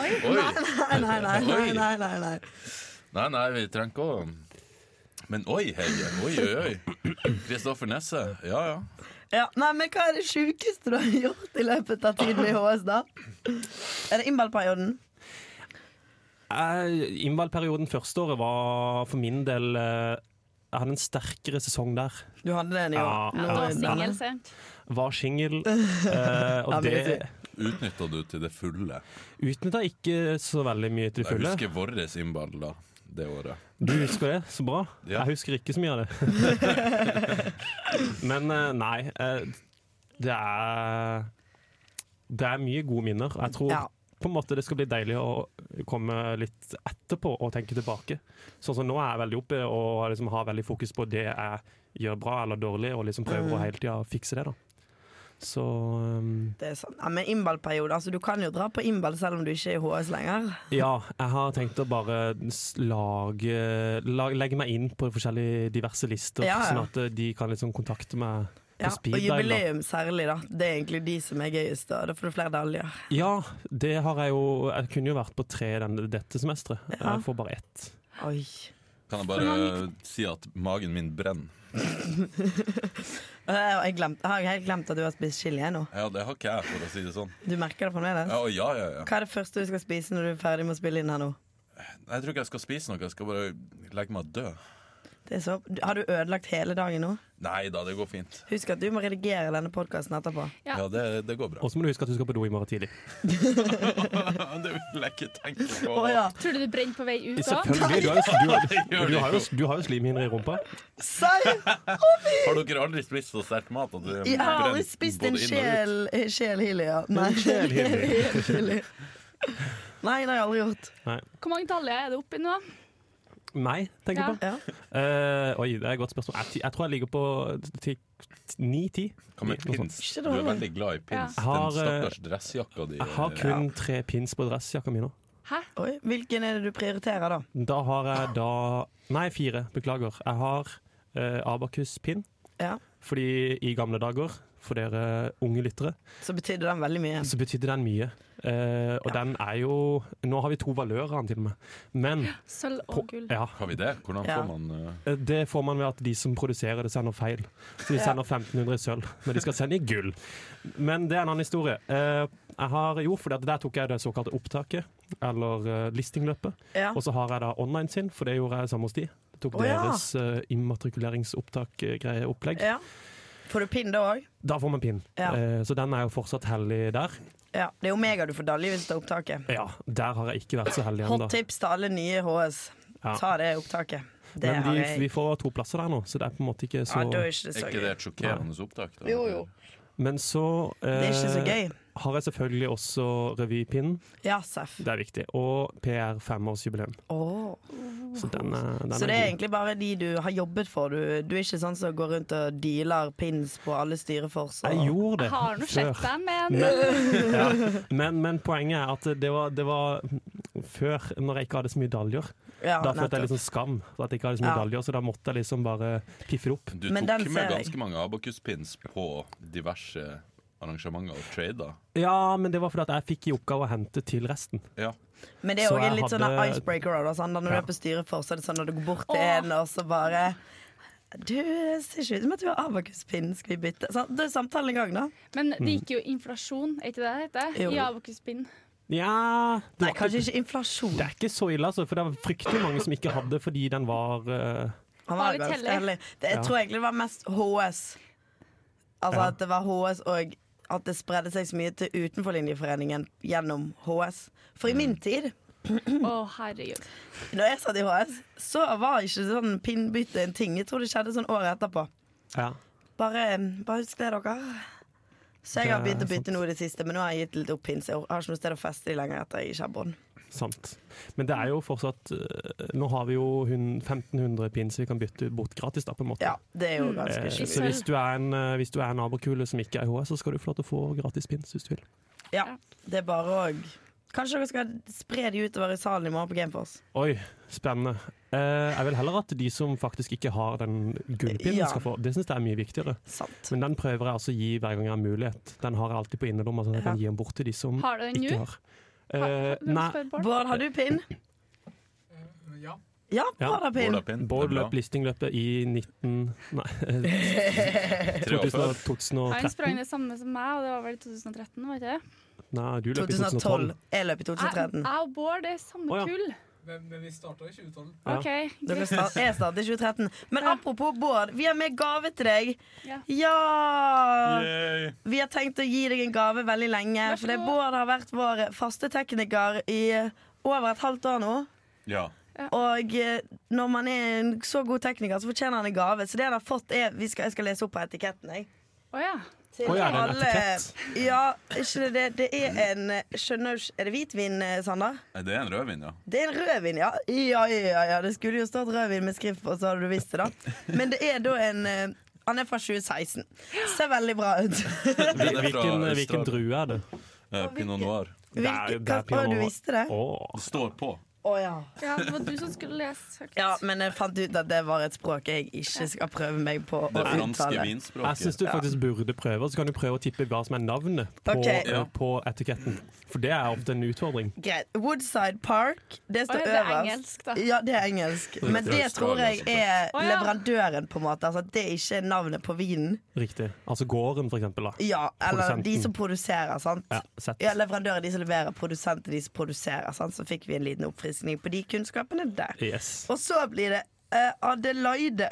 [SPEAKER 2] Oi.
[SPEAKER 1] Oi.
[SPEAKER 3] Nei, nei, nei, nei,
[SPEAKER 1] Oi.
[SPEAKER 3] nei, nei, nei.
[SPEAKER 1] Nei, nei, vi trenger ikke å Men oi, Heie. Oi, oi, oi. Kristoffer Nesse. Ja, ja.
[SPEAKER 3] Ja, nei, men hva er det sjukeste du har gjort i løpet av tiden i HS, da? Er det innballperioden?
[SPEAKER 4] Jeg- Eh, Innvalgperioden første året var for min del eh, Jeg hadde en sterkere sesong der.
[SPEAKER 3] Du hadde den i
[SPEAKER 4] Ja,
[SPEAKER 3] år.
[SPEAKER 2] Ja,
[SPEAKER 3] Nå
[SPEAKER 2] du var
[SPEAKER 3] er den-
[SPEAKER 2] singel, sant?
[SPEAKER 4] Var singel. eh,
[SPEAKER 3] Ja,
[SPEAKER 4] og
[SPEAKER 3] men
[SPEAKER 4] det
[SPEAKER 3] det-
[SPEAKER 1] Utnytta du til det fulle?
[SPEAKER 4] utnytta ikke så veldig mye til
[SPEAKER 1] Jeg
[SPEAKER 4] det fulle.
[SPEAKER 1] husker vår innball da, det året.
[SPEAKER 4] Du husker det? Så bra.
[SPEAKER 1] Ja.
[SPEAKER 4] Jeg husker ikke så mye av det. Men eh, nei. eh, Det er Det er mye gode minner. Jeg tror
[SPEAKER 3] Ja.
[SPEAKER 4] på en måte det skal bli deilig å komme litt etterpå og tenke tilbake. Sånn som nå er jeg veldig oppe og liksom har veldig fokus på det jeg gjør bra eller dårlig, og liksom prøver
[SPEAKER 3] Mm.
[SPEAKER 4] å hele tida fikse det, da. Så um,
[SPEAKER 3] Det er sant. Ja, men innballperiode, altså du kan jo dra på innball selv om du ikke er i HS lenger.
[SPEAKER 4] ja, jeg har tenkt å bare s- lage, lag- Legge meg inn på forskjellige diverse lister,
[SPEAKER 3] Ja, ja.
[SPEAKER 4] sånn at eh, de kan liksom kontakte meg på
[SPEAKER 3] Ja, og
[SPEAKER 4] speed dial. da.
[SPEAKER 3] jubileum særlig, da. Det er egentlig de som er gøyest, da. Da får du flere daljer.
[SPEAKER 4] Ja, det har jeg jo Jeg kunne jo vært på tre den, dette semesteret.
[SPEAKER 3] Ja.
[SPEAKER 4] Jeg får bare ett.
[SPEAKER 3] Oi.
[SPEAKER 1] Kan jeg bare si at magen min brenner?
[SPEAKER 3] Og Jeg har, glemt, jeg har helt glemt at du har spist chili jeg, nå.
[SPEAKER 1] Ja, det har ikke jeg, for å si det sånn.
[SPEAKER 3] Du merker det fremdeles?
[SPEAKER 1] Ja, og ja, ja, ja.
[SPEAKER 3] Hva er det første du skal spise når du er ferdig med å spille inn her nå?
[SPEAKER 1] Jeg tror ikke jeg skal spise noe. Jeg skal bare legge meg og dø.
[SPEAKER 3] Det er så, har du ødelagt hele dagen nå?
[SPEAKER 1] Nei da, det går fint.
[SPEAKER 3] Husk at du må redigere denne podkasten etterpå.
[SPEAKER 2] Ja.
[SPEAKER 1] Ja, det, det går bra.
[SPEAKER 4] Og så må du huske at du skal på do i morgen tidlig.
[SPEAKER 1] det vil jeg ikke tenke på.
[SPEAKER 3] Å ja!
[SPEAKER 2] Tror du du brenner på vei ut da?
[SPEAKER 4] Selvfølgelig. Du har jo, du
[SPEAKER 1] gjør
[SPEAKER 4] har,
[SPEAKER 1] det
[SPEAKER 4] du har jo,
[SPEAKER 1] ikke.
[SPEAKER 4] du har jo slimhinner i rumpa.
[SPEAKER 3] Sei!
[SPEAKER 1] Har dere aldri spist så sterk mat at det
[SPEAKER 3] Jeg har aldri
[SPEAKER 1] brenner
[SPEAKER 3] spist
[SPEAKER 1] både
[SPEAKER 3] en
[SPEAKER 1] inn og ut?
[SPEAKER 3] sjel Sjelhilly, ja. Nei, Sjelhilly. Nei, det har jeg aldri gjort.
[SPEAKER 2] Hvor mange daljer er det oppi nå?
[SPEAKER 4] Meg, tenker jeg på.
[SPEAKER 3] Ja.
[SPEAKER 4] Eh, oi, det er et godt spørsmål. Jeg, ti- jeg tror jeg ligger på ni-ti.
[SPEAKER 1] Hva med pins?
[SPEAKER 3] Ikke
[SPEAKER 1] Du er
[SPEAKER 3] dårlig.
[SPEAKER 1] veldig glad i pins.
[SPEAKER 4] Jeg har, eh,
[SPEAKER 1] Den stakkars dressjakka di.
[SPEAKER 4] Jeg har kun tre pins på dressjakka mi nå.
[SPEAKER 2] Hæ?
[SPEAKER 3] Oi, hvilken er det du prioriterer, da?
[SPEAKER 4] Da har jeg da Nei, fire. Beklager. Jeg har eh, Abakus-pinn.
[SPEAKER 3] Ja.
[SPEAKER 4] Fordi i gamle dager, for dere unge lyttere,
[SPEAKER 3] Så betydde den veldig mye.
[SPEAKER 4] så betydde den mye. Eh, og den er jo Nå har vi to valører av den, til og med. Men
[SPEAKER 2] Sølv og gull.
[SPEAKER 4] ja,
[SPEAKER 1] eh, Har vi det? Hvordan
[SPEAKER 3] Ja.
[SPEAKER 1] får man uh,
[SPEAKER 4] Eh, det får man ved at de som produserer det, sender feil. Så de sender 1500 i sølv, men de skal sende i gull. Men det er en annen historie. Eh, jeg har jo, for Der tok jeg det såkalte opptaket, eller eh, listingløpet.
[SPEAKER 3] Ja.
[SPEAKER 4] Og så har jeg da online sin, for det gjorde jeg sammen hos de. Jeg
[SPEAKER 3] Ah.
[SPEAKER 4] tok
[SPEAKER 3] Å, ja.
[SPEAKER 4] deres eh, immatrikuleringsopptak-opplegg.
[SPEAKER 3] ja. Får du pinn da òg?
[SPEAKER 4] Da får man pinn.
[SPEAKER 3] Ja.
[SPEAKER 4] Eh, så den er jo fortsatt hellig der.
[SPEAKER 3] Ja. Det er Omega du får dalje hvis du tar opptaket.
[SPEAKER 4] Ja, der har jeg ikke vært så heldig
[SPEAKER 3] Hot
[SPEAKER 4] ennå.
[SPEAKER 3] tips til alle nye HS.
[SPEAKER 4] Ja.
[SPEAKER 3] Ta det opptaket. Det
[SPEAKER 4] Men
[SPEAKER 3] har
[SPEAKER 4] de,
[SPEAKER 3] jeg.
[SPEAKER 4] vi får to plasser der nå, så det er på en måte ikke så
[SPEAKER 3] ja, da er ikke det
[SPEAKER 1] Er
[SPEAKER 3] så
[SPEAKER 1] ikke det
[SPEAKER 3] gøy.
[SPEAKER 1] et sjokkerende opptak? Da?
[SPEAKER 3] Jo, jo.
[SPEAKER 4] Men så eh,
[SPEAKER 3] Det er ikke så gøy.
[SPEAKER 4] har jeg selvfølgelig også revypinnen.
[SPEAKER 3] Ja, Seff.
[SPEAKER 4] Det er viktig. Og PR femårsjubileum.
[SPEAKER 3] Åh.
[SPEAKER 4] Så den er, den
[SPEAKER 3] Så
[SPEAKER 4] er
[SPEAKER 3] det er
[SPEAKER 4] god.
[SPEAKER 3] egentlig bare de du har jobbet for? Du, du er ikke sånn som går rundt og dealer pins på alle styrefors? og-
[SPEAKER 4] Jeg gjorde det
[SPEAKER 2] Jeg har nå
[SPEAKER 4] før.
[SPEAKER 2] sett deg, men
[SPEAKER 4] Men, ja. men, men poenget er at det var, det var før, når jeg ikke hadde så mye daljer.
[SPEAKER 3] Ja,
[SPEAKER 4] Da følte jeg
[SPEAKER 3] nettopp.
[SPEAKER 4] liksom skam for at jeg ikke hadde så mye
[SPEAKER 3] Ja.
[SPEAKER 4] daljer, så da måtte jeg liksom bare piffe det opp.
[SPEAKER 1] Du
[SPEAKER 3] Men den
[SPEAKER 1] tok
[SPEAKER 3] ser
[SPEAKER 1] med
[SPEAKER 3] jeg.
[SPEAKER 1] ganske mange abakuspins på diverse arrangementer og trader.
[SPEAKER 4] Ja, men det var fordi at jeg fikk i oppgave å hente til resten.
[SPEAKER 1] Ja.
[SPEAKER 3] Men det er
[SPEAKER 4] Så
[SPEAKER 3] òg en
[SPEAKER 4] jeg
[SPEAKER 3] litt sånn
[SPEAKER 4] hadde-
[SPEAKER 3] icebreaker. da, Sånn, da når
[SPEAKER 4] Ja.
[SPEAKER 3] du er på styrefors, så er det sånn når du går bort til
[SPEAKER 2] Åh.
[SPEAKER 3] en, og så bare Du det ser ikke ut som at du har abakuspinn, skal vi bytte? Så, det er samtalen i gang, da.
[SPEAKER 2] Men det gikk
[SPEAKER 4] Mm.
[SPEAKER 2] jo inflasjon, er ikke det det heter?
[SPEAKER 3] Jo.
[SPEAKER 2] I Abokuspinn.
[SPEAKER 4] Ja det,
[SPEAKER 3] Nei,
[SPEAKER 4] var ikke,
[SPEAKER 3] kanskje ikke inflasjon.
[SPEAKER 4] det er ikke så ille, altså, for det var fryktelig mange som ikke hadde fordi den var eh,
[SPEAKER 2] Var
[SPEAKER 3] Han var
[SPEAKER 2] litt
[SPEAKER 3] ganske
[SPEAKER 2] heldig.
[SPEAKER 3] heldig. Det, jeg
[SPEAKER 4] Ja.
[SPEAKER 3] tror egentlig det var mest HS. Altså
[SPEAKER 4] Ja.
[SPEAKER 3] at det var HS og
[SPEAKER 4] Mm.
[SPEAKER 3] at det spredde seg så mye til utenforlinjeforeningen gjennom HS. For i min tid
[SPEAKER 2] Å, herregud.
[SPEAKER 3] Når jeg satt i HS, så var ikke sånn pinnbytte en ting. Jeg tror det skjedde sånn året etterpå.
[SPEAKER 4] Ja.
[SPEAKER 3] Bare, eh, bare husk det, dere. Så jeg har
[SPEAKER 4] Det er
[SPEAKER 3] begynt å bytte
[SPEAKER 4] sant.
[SPEAKER 3] noe i det siste, men nå har jeg gitt litt opp pins. Jeg har ikke noe sted å feste i lenger etter jeg ikke har bånd.
[SPEAKER 4] Sant. Men det er jo fortsatt eh, Nå har vi jo hun- 1500 pins vi kan bytte bort gratis, da, på en måte.
[SPEAKER 3] Ja, det er jo ganske
[SPEAKER 4] Eh,
[SPEAKER 3] sjukt.
[SPEAKER 4] så hvis du er en, eh, hvis du er en nabokule som ikke er i HS, så skal du få lov til å få gratis pins hvis du vil.
[SPEAKER 3] Ja, det er bare å Kanskje dere skal spre de utover i salen i morgen på Gameforce?
[SPEAKER 4] Oi, spennende. Eh, jeg vil heller at de som faktisk ikke har den gullpinnen,
[SPEAKER 3] Ja.
[SPEAKER 4] skal få. Det syns jeg er mye viktigere.
[SPEAKER 3] Sant.
[SPEAKER 4] Men den prøver jeg altså å gi hver gang jeg har mulighet. Den har jeg alltid på innerlomma, sånn at jeg
[SPEAKER 3] Ja.
[SPEAKER 4] kan gi den bort til de som
[SPEAKER 2] Har du den
[SPEAKER 4] ikke
[SPEAKER 2] nå?
[SPEAKER 4] har.
[SPEAKER 2] Ha-
[SPEAKER 4] Eh,
[SPEAKER 2] hvem
[SPEAKER 4] nei,
[SPEAKER 2] spør Bård?
[SPEAKER 3] Bård, har du pinn?
[SPEAKER 5] Ja.
[SPEAKER 3] Ja, Bård har pinn.
[SPEAKER 1] Bård har pinn.
[SPEAKER 4] Bård
[SPEAKER 1] Det er bra.
[SPEAKER 4] løp listingløpet i 19... Nei,
[SPEAKER 1] Tre år før.
[SPEAKER 4] 2000,
[SPEAKER 2] Han
[SPEAKER 4] 2013.
[SPEAKER 2] sprang det samme som meg, og det var vel i 2013, var det ikke det?
[SPEAKER 4] Nei, du løp i
[SPEAKER 3] 2012.
[SPEAKER 4] 2012.
[SPEAKER 3] Jeg løp i
[SPEAKER 2] Jeg
[SPEAKER 3] 2013.
[SPEAKER 2] jeg og Bård det er samme
[SPEAKER 4] Å, ja.
[SPEAKER 2] kull.
[SPEAKER 5] Men, men vi starta i 2012.
[SPEAKER 4] Ja.
[SPEAKER 2] OK,
[SPEAKER 3] Dere
[SPEAKER 2] greit.
[SPEAKER 3] start, jeg startet i 2013. Men
[SPEAKER 2] Ja.
[SPEAKER 3] apropos Bård, vi har med gave til deg.
[SPEAKER 2] Ja.
[SPEAKER 3] Ja!
[SPEAKER 1] Yay.
[SPEAKER 3] Vi har tenkt å gi deg en gave veldig lenge.
[SPEAKER 2] Vær så
[SPEAKER 3] For det
[SPEAKER 2] god.
[SPEAKER 3] Bård har vært vår faste tekniker i over et halvt år nå.
[SPEAKER 1] Ja.
[SPEAKER 3] Og eh, når man er en så god tekniker, så fortjener han en gave. Så det han har fått, er vi skal, Jeg skal lese opp på etiketten, jeg.
[SPEAKER 2] Å ja.
[SPEAKER 3] Til
[SPEAKER 4] Oi, er det en etikett?
[SPEAKER 3] Ja, ikke det, det, det er en eh, Skjønner du ikke- Er det hvitvin, eh, Sander?
[SPEAKER 1] Det er en rødvin, ja.
[SPEAKER 3] Det er en rødvin, ja. Ja, ja, ja. Det skulle jo stått rødvin med skrift på, så hadde du visst det, da. Men det er da en eh, Han er fra 2016. Ser veldig bra ut.
[SPEAKER 1] Den er fra
[SPEAKER 4] Hvilken, eh, hvilken
[SPEAKER 1] Austral-
[SPEAKER 4] drue er det?
[SPEAKER 1] eh, Pinot noir.
[SPEAKER 4] er-
[SPEAKER 3] Hvilke,
[SPEAKER 4] det
[SPEAKER 3] hva,
[SPEAKER 4] er
[SPEAKER 3] å, du
[SPEAKER 4] Pinot-
[SPEAKER 3] visste det?
[SPEAKER 4] Åh.
[SPEAKER 1] Det står på.
[SPEAKER 3] Å ja.
[SPEAKER 2] ja. Det var du som skulle lese høyt.
[SPEAKER 3] Ja, men jeg fant ut at det var et språk jeg ikke skal prøve meg på å
[SPEAKER 1] Det franske
[SPEAKER 3] uttale.
[SPEAKER 1] vinspråket.
[SPEAKER 4] Jeg syns du faktisk burde prøve, og så kan du prøve å tippe hva som er navnet på,
[SPEAKER 3] Ok.
[SPEAKER 4] eh, på etiketten. For det er ofte en utfordring.
[SPEAKER 3] Greit. Woodside Park, det
[SPEAKER 2] Å,
[SPEAKER 3] står
[SPEAKER 2] ja, det er
[SPEAKER 3] øverst.
[SPEAKER 2] engelsk, da.
[SPEAKER 3] Ja, det er engelsk. Men det tror jeg er
[SPEAKER 2] Å, ja.
[SPEAKER 3] leverandøren, på en måte. Altså, det er ikke navnet på vinen.
[SPEAKER 4] Riktig. Altså gården, for eksempel. Da.
[SPEAKER 3] Ja, eller de
[SPEAKER 4] Produsenten.
[SPEAKER 3] som produserer, sant.
[SPEAKER 4] Ja, sett.
[SPEAKER 3] Ja, leverandører, de som leverer, produsenter, de som produserer. Sant? Så fikk vi en liten oppfriskning på de kunnskapene der.
[SPEAKER 4] Yes.
[SPEAKER 3] Og så blir det eh, Adelaide.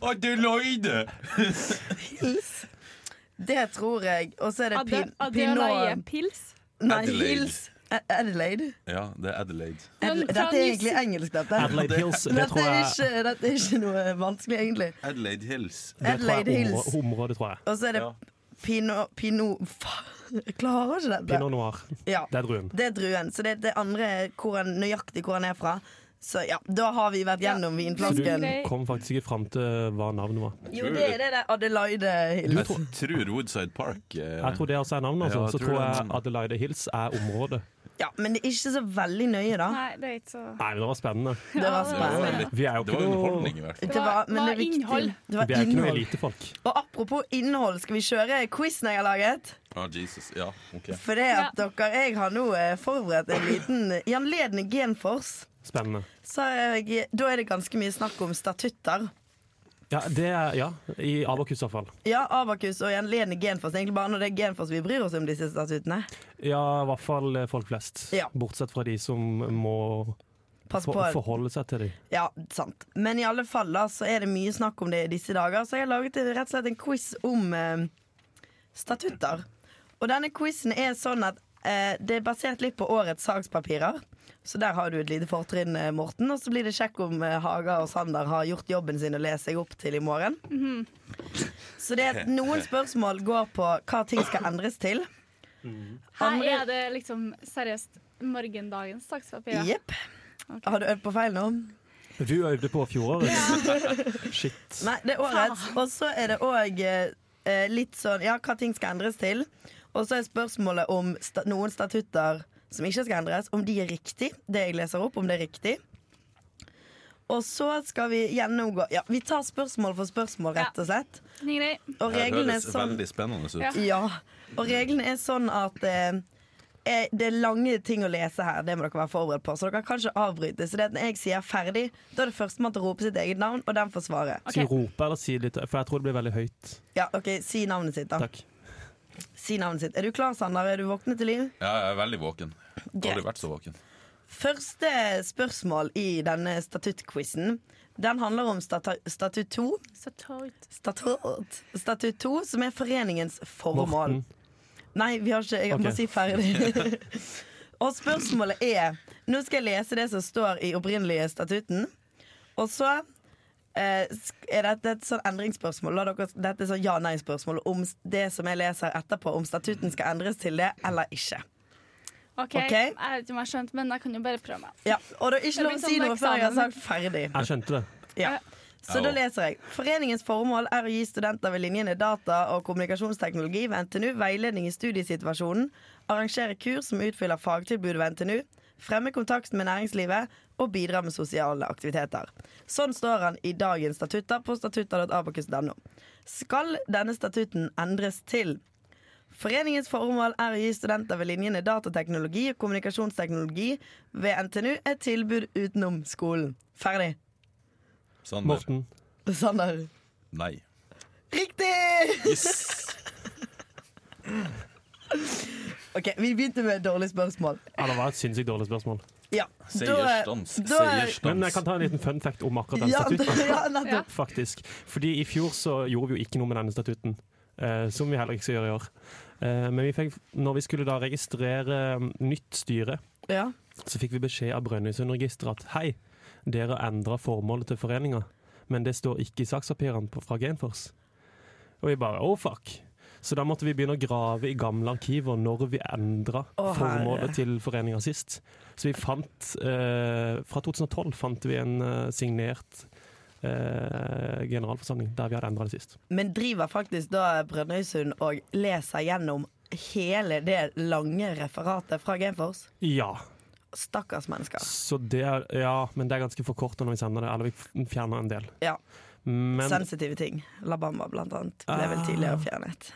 [SPEAKER 1] Adelaide!
[SPEAKER 3] Det tror jeg. Og så er det
[SPEAKER 2] Ade-
[SPEAKER 3] pin,
[SPEAKER 2] Adelaide
[SPEAKER 3] Pinot
[SPEAKER 2] Pils.
[SPEAKER 3] Nei,
[SPEAKER 1] Adelaide.
[SPEAKER 3] Hills. A- Adelaide.
[SPEAKER 1] Ja, det er Adelaide.
[SPEAKER 2] Men
[SPEAKER 3] Adelaide.
[SPEAKER 2] fra
[SPEAKER 3] Dette er
[SPEAKER 2] New
[SPEAKER 3] egentlig
[SPEAKER 2] Ze-
[SPEAKER 3] engelsk, dette.
[SPEAKER 4] Adelaide Hills, det
[SPEAKER 3] Dette
[SPEAKER 4] tror
[SPEAKER 3] er,
[SPEAKER 4] jeg,
[SPEAKER 3] ikke, dette er ikke noe vanskelig, egentlig.
[SPEAKER 1] Adelaide Hills.
[SPEAKER 4] det tror jeg
[SPEAKER 3] Adelaide
[SPEAKER 4] er
[SPEAKER 3] Hills.
[SPEAKER 4] områ- området, tror jeg.
[SPEAKER 3] Og så er det
[SPEAKER 1] Ja.
[SPEAKER 3] Pinot Pinot Faen, jeg klarer ikke dette.
[SPEAKER 4] Pinot noir.
[SPEAKER 3] Ja.
[SPEAKER 4] Det er druen.
[SPEAKER 3] Det er druen. Så det er det andre hvor han, nøyaktig hvor han er fra. Så ja, da har vi vært gjennom
[SPEAKER 4] Så du
[SPEAKER 3] vinflasken.
[SPEAKER 2] Grei.
[SPEAKER 4] kom faktisk ikke fram til hva navnet var.
[SPEAKER 3] Jo, det er det der Adelaide
[SPEAKER 1] Jeg
[SPEAKER 3] Hills.
[SPEAKER 1] tror Woodside Park eh,
[SPEAKER 4] Jeg tror det også er navnet, altså.
[SPEAKER 1] Ja, jeg
[SPEAKER 4] Så
[SPEAKER 1] tror
[SPEAKER 4] tror
[SPEAKER 1] det er
[SPEAKER 4] jeg
[SPEAKER 1] navnet.
[SPEAKER 4] Adelaide Hills er området.
[SPEAKER 3] Ja, men det er ikke så veldig nøye, da.
[SPEAKER 2] Nei, det er ikke så
[SPEAKER 3] Ah.
[SPEAKER 4] Nei, men det var spennende.
[SPEAKER 3] Det var
[SPEAKER 1] det var,
[SPEAKER 3] spennende.
[SPEAKER 1] litt,
[SPEAKER 4] Vi er jo
[SPEAKER 1] det
[SPEAKER 4] ikke
[SPEAKER 1] var
[SPEAKER 4] noe
[SPEAKER 1] underholdning, i hvert fall.
[SPEAKER 3] Det var, men det
[SPEAKER 2] Det
[SPEAKER 3] er
[SPEAKER 2] var innhold.
[SPEAKER 3] viktig. Det var
[SPEAKER 4] Vi er ikke noe
[SPEAKER 3] innhold.
[SPEAKER 4] elitefolk.
[SPEAKER 3] Og apropos innhold, skal vi kjøre quizen jeg har laget?
[SPEAKER 1] Ah, Jesus. Ja, ok.
[SPEAKER 3] For det at dere, jeg har nå eh, forberedt en liten I anledning Genfors,
[SPEAKER 4] Spennende.
[SPEAKER 3] så har jeg, da er det ganske mye snakk om statutter.
[SPEAKER 4] Ja, det er, ja i Abakus i hvert fall.
[SPEAKER 3] Ja, Abakus og i anledning Genfors. Det er Egentlig bare når det er Genfors vi bryr oss om disse statuttene.
[SPEAKER 4] Ja, i hvert fall eh, folk flest.
[SPEAKER 3] Ja.
[SPEAKER 4] Bortsett fra de som må
[SPEAKER 3] Pass
[SPEAKER 4] for,
[SPEAKER 3] på.
[SPEAKER 4] forholde seg til dem.
[SPEAKER 3] Ja, sant. Men i alle fall da, så er det mye snakk om det i disse dager, så jeg har laget en- rett og slett en quiz om eh, statutter. Og denne quizen er sånn at eh, det er basert litt på årets sakspapirer. Så der har du et lite fortrinn, eh, Morten. Og så blir det sjekk om eh, Haga og Sander har gjort jobben sin og leser seg opp til i morgen. Så det er at noen spørsmål går på hva ting skal endres til.
[SPEAKER 2] Her er det liksom seriøst morgendagens sakspapir. ja.
[SPEAKER 3] Jepp. Har du øvd på feil nå?
[SPEAKER 4] Du øvde på fjoråret. Shit.
[SPEAKER 3] Nei, det er årets. Og så er det òg eh, litt sånn Ja, hva ting skal endres til. Og så er spørsmålet om sta noen statutter som ikke skal endres, om de er riktig. Det jeg leser opp, om det er riktig. Og så skal vi gjennomgå Ja, vi tar spørsmål for spørsmål,
[SPEAKER 2] Ja.
[SPEAKER 3] rett og slett.
[SPEAKER 2] Ingen grei.
[SPEAKER 3] Og
[SPEAKER 1] Det
[SPEAKER 3] reglene er
[SPEAKER 1] høres
[SPEAKER 3] sånn
[SPEAKER 1] veldig spennende ut.
[SPEAKER 2] Ja.
[SPEAKER 3] Ja. Og reglene er sånn at eh, eh, det er lange ting å lese her, det må dere være forberedt på. Så dere kan ikke avbryte. Så det at når jeg sier 'ferdig', da er det førstemann til å rope sitt eget navn, og den får svaret.
[SPEAKER 4] Skal vi
[SPEAKER 2] Ok.
[SPEAKER 4] rope eller si litt? For jeg tror det blir veldig høyt.
[SPEAKER 3] Ja, OK, si navnet sitt, da.
[SPEAKER 4] Takk.
[SPEAKER 3] Si navnet sitt. Er du klar, Sander? Er du våknet til liv?
[SPEAKER 1] Ja, jeg er veldig våken. Jeg har
[SPEAKER 3] Greit.
[SPEAKER 1] Aldri vært så våken.
[SPEAKER 3] Første spørsmål i denne statuttquizen. Den handler om statu statutt 2,
[SPEAKER 2] Så tøyt.
[SPEAKER 3] statutt, statutt 2, som er foreningens formål.
[SPEAKER 4] Morten.
[SPEAKER 3] Nei, vi har ikke Jeg må
[SPEAKER 4] Ok.
[SPEAKER 3] si ferdig. Og spørsmålet er Nå skal jeg lese det som står i opprinnelige statuten. Og så eh, sk- er dette et sånn endringsspørsmål. La dere, dette er sånn ja-nei-spørsmål om s- det som jeg leser etterpå, om statuten skal endres til det eller ikke.
[SPEAKER 2] OK,
[SPEAKER 3] Ok.
[SPEAKER 2] jeg vet ikke om jeg skjønte, men jeg kan jo bare prøve meg.
[SPEAKER 3] Ja, og det er ikke
[SPEAKER 2] Det
[SPEAKER 3] lov
[SPEAKER 2] blir
[SPEAKER 3] å si
[SPEAKER 2] sånn
[SPEAKER 3] noe før jeg har
[SPEAKER 2] eksamen.
[SPEAKER 3] sagt ferdig.
[SPEAKER 4] Jeg skjønte det.
[SPEAKER 3] Ja. Så
[SPEAKER 1] Ja.
[SPEAKER 3] da leser jeg. Foreningens formål er å gi studenter ved linjene data og kommunikasjonsteknologi ved NTNU veiledning i studiesituasjonen, arrangere kurs som utfyller fagtilbud ved NTNU, fremme kontakt med næringslivet og bidra med sosiale aktiviteter. Sånn står han i dagens statutter på statutter.abakus.no. Skal denne statuten endres til Foreningens formål er å gi studenter ved linjene datateknologi og kommunikasjonsteknologi ved NTNU et tilbud utenom skolen. Ferdig.
[SPEAKER 1] Sander.
[SPEAKER 4] Morten.
[SPEAKER 3] Sander.
[SPEAKER 1] Sånn Nei.
[SPEAKER 3] Sånn Riktig!
[SPEAKER 1] Yes.
[SPEAKER 3] Ok, Vi begynte med et dårlig spørsmål.
[SPEAKER 4] Ja, det var et sinnssykt dårlig spørsmål.
[SPEAKER 3] Ja,
[SPEAKER 1] Seierstans.
[SPEAKER 3] da-
[SPEAKER 4] Men jeg
[SPEAKER 1] Seierstans.
[SPEAKER 4] kan ta en liten fun fact om akkurat den
[SPEAKER 3] ja,
[SPEAKER 4] statuten.
[SPEAKER 3] ja, nettopp.
[SPEAKER 4] Faktisk. Fordi i fjor så gjorde vi jo ikke noe med denne statuten. eh, som vi heller ikke skal gjøre i år. Eh, men vi fikk, når vi skulle da registrere mm, nytt styre,
[SPEAKER 3] Ja.
[SPEAKER 4] så fikk vi beskjed av Brønnøysundregisteret at hei, dere endra formålet til foreninga, men det står ikke i sakspapirene på- fra Genfors. Og vi bare oh fuck. Så da måtte vi begynne å grave i gamle arkiver når vi endra
[SPEAKER 3] Å, herre.
[SPEAKER 4] formålet til foreninga sist. Så vi fant eh, Fra 2012 fant vi en eh, signert eh, generalforsamling der vi hadde endra det sist.
[SPEAKER 3] Men driver faktisk da Brønnøysund og leser gjennom hele det lange referatet fra Genfors?
[SPEAKER 4] Ja.
[SPEAKER 3] Stakkars mennesker.
[SPEAKER 4] Så det er, ja, men det er ganske forkorta når vi sender det. Eller vi fjerner en del.
[SPEAKER 3] Ja.
[SPEAKER 4] Men
[SPEAKER 3] Sensitive ting. La Bamba, blant annet, ble vel
[SPEAKER 4] Ah.
[SPEAKER 3] tidligere fjernet.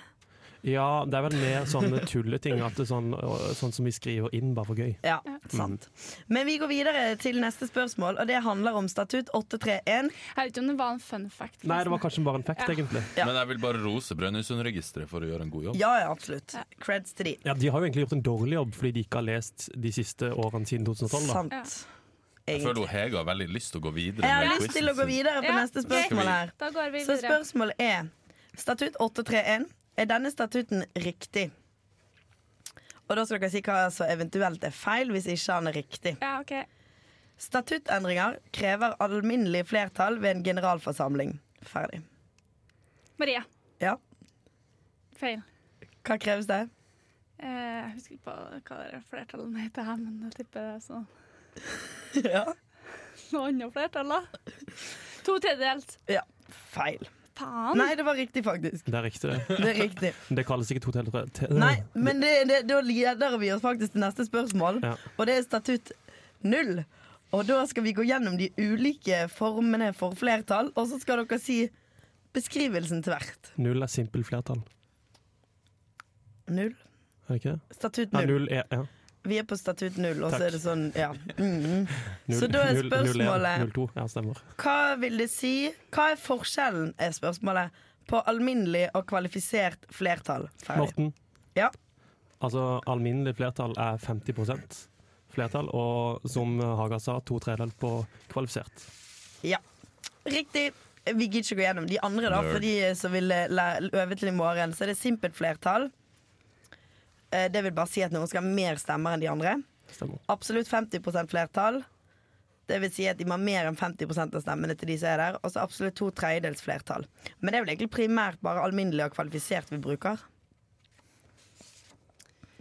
[SPEAKER 4] Ja, det er vel mer sånne tulleting. At det er sånn, og- sånn som vi skriver inn bare for gøy.
[SPEAKER 3] Ja, sant.
[SPEAKER 4] Mm.
[SPEAKER 3] Men vi går videre til neste spørsmål, og det handler om statutt 831.
[SPEAKER 2] Jeg vet ikke om det var en fun fact.
[SPEAKER 4] Nei, det var
[SPEAKER 2] forresten.
[SPEAKER 4] kanskje bare en fact,
[SPEAKER 2] Ja.
[SPEAKER 4] egentlig.
[SPEAKER 3] Ja.
[SPEAKER 1] Men jeg vil bare rose Brønnøysundregisteret for å gjøre en god jobb.
[SPEAKER 3] Ja, ja, absolutt. Creds til de.
[SPEAKER 4] Ja, De har jo egentlig gjort en dårlig jobb fordi de ikke har lest de siste årene siden 2012. sånn, da.
[SPEAKER 2] Ja.
[SPEAKER 3] Sant.
[SPEAKER 1] Jeg føler hun
[SPEAKER 3] Egentlig.
[SPEAKER 1] Hege har veldig lyst til å gå videre.
[SPEAKER 3] Jeg har
[SPEAKER 1] med
[SPEAKER 3] lyst til å
[SPEAKER 1] quizen
[SPEAKER 3] gå
[SPEAKER 1] sin.
[SPEAKER 3] videre på
[SPEAKER 2] Ja,
[SPEAKER 3] neste
[SPEAKER 2] ok.
[SPEAKER 3] spørsmål her.
[SPEAKER 2] Da går vi
[SPEAKER 3] Så
[SPEAKER 2] videre.
[SPEAKER 3] spørsmålet er Statutt 831 Er denne statuten riktig? Og da skal dere si hva som eventuelt er feil Hvis ikke han er riktig
[SPEAKER 2] Ja, ok.
[SPEAKER 3] Statuttendringer krever alminnelig flertall Ved en generalforsamling Ferdig
[SPEAKER 2] Maria.
[SPEAKER 3] Ja,
[SPEAKER 2] Feil.
[SPEAKER 3] hva kreves det?
[SPEAKER 2] Eh, Jeg husker ikke på hva det er flertallet heter her, men jeg tipper det er sånn
[SPEAKER 3] ja.
[SPEAKER 2] noe annet flertall, da. To tredjedels.
[SPEAKER 3] ja, feil
[SPEAKER 2] Faen.
[SPEAKER 3] Nei, det var riktig faktisk
[SPEAKER 4] Det er riktig, det.
[SPEAKER 3] Det er riktig
[SPEAKER 4] Men Det kalles ikke to til tre. til-
[SPEAKER 3] Nei, men det, det, da leder vi oss faktisk til neste spørsmål,
[SPEAKER 4] Ja.
[SPEAKER 3] og det er statutt null. Og da skal vi gå gjennom de ulike formene for flertall, og så skal dere si beskrivelsen til hvert.
[SPEAKER 4] Null er simpelt flertall.
[SPEAKER 3] Null.
[SPEAKER 4] Er det ikke det?
[SPEAKER 3] Statutt
[SPEAKER 4] Ja,
[SPEAKER 3] null.
[SPEAKER 4] null er ja.
[SPEAKER 3] Vi er på statutt null, og
[SPEAKER 4] Takk.
[SPEAKER 3] så er det sånn, ja. Mhm.
[SPEAKER 4] Null,
[SPEAKER 3] Så da er
[SPEAKER 4] null- null
[SPEAKER 3] spørsmålet-
[SPEAKER 4] Null to, ja, stemmer.
[SPEAKER 3] Hva vil det si Hva er forskjellen, er spørsmålet, på alminnelig og kvalifisert flertall? Ferdig.
[SPEAKER 4] Morten.
[SPEAKER 3] Ja.
[SPEAKER 4] Altså, alminnelig flertall er 50 flertall, og som Haga sa, to tredjedeler på kvalifisert.
[SPEAKER 3] Ja. Riktig. Vi gidder ikke gå gjennom de andre, da,
[SPEAKER 1] Nerd.
[SPEAKER 3] for de som vil eh, læ- øve til i morgen. Så er det simpelt flertall. Eh, Det vil bare si at noen skal ha mer stemmer enn de andre.
[SPEAKER 4] Stemmer.
[SPEAKER 3] Absolutt 50 flertall. Det vil si at de må ha mer enn 50 av stemmene til de som er der. Og så absolutt to tredjedels flertall. Men det er vel egentlig primært bare alminnelig og kvalifisert vi bruker.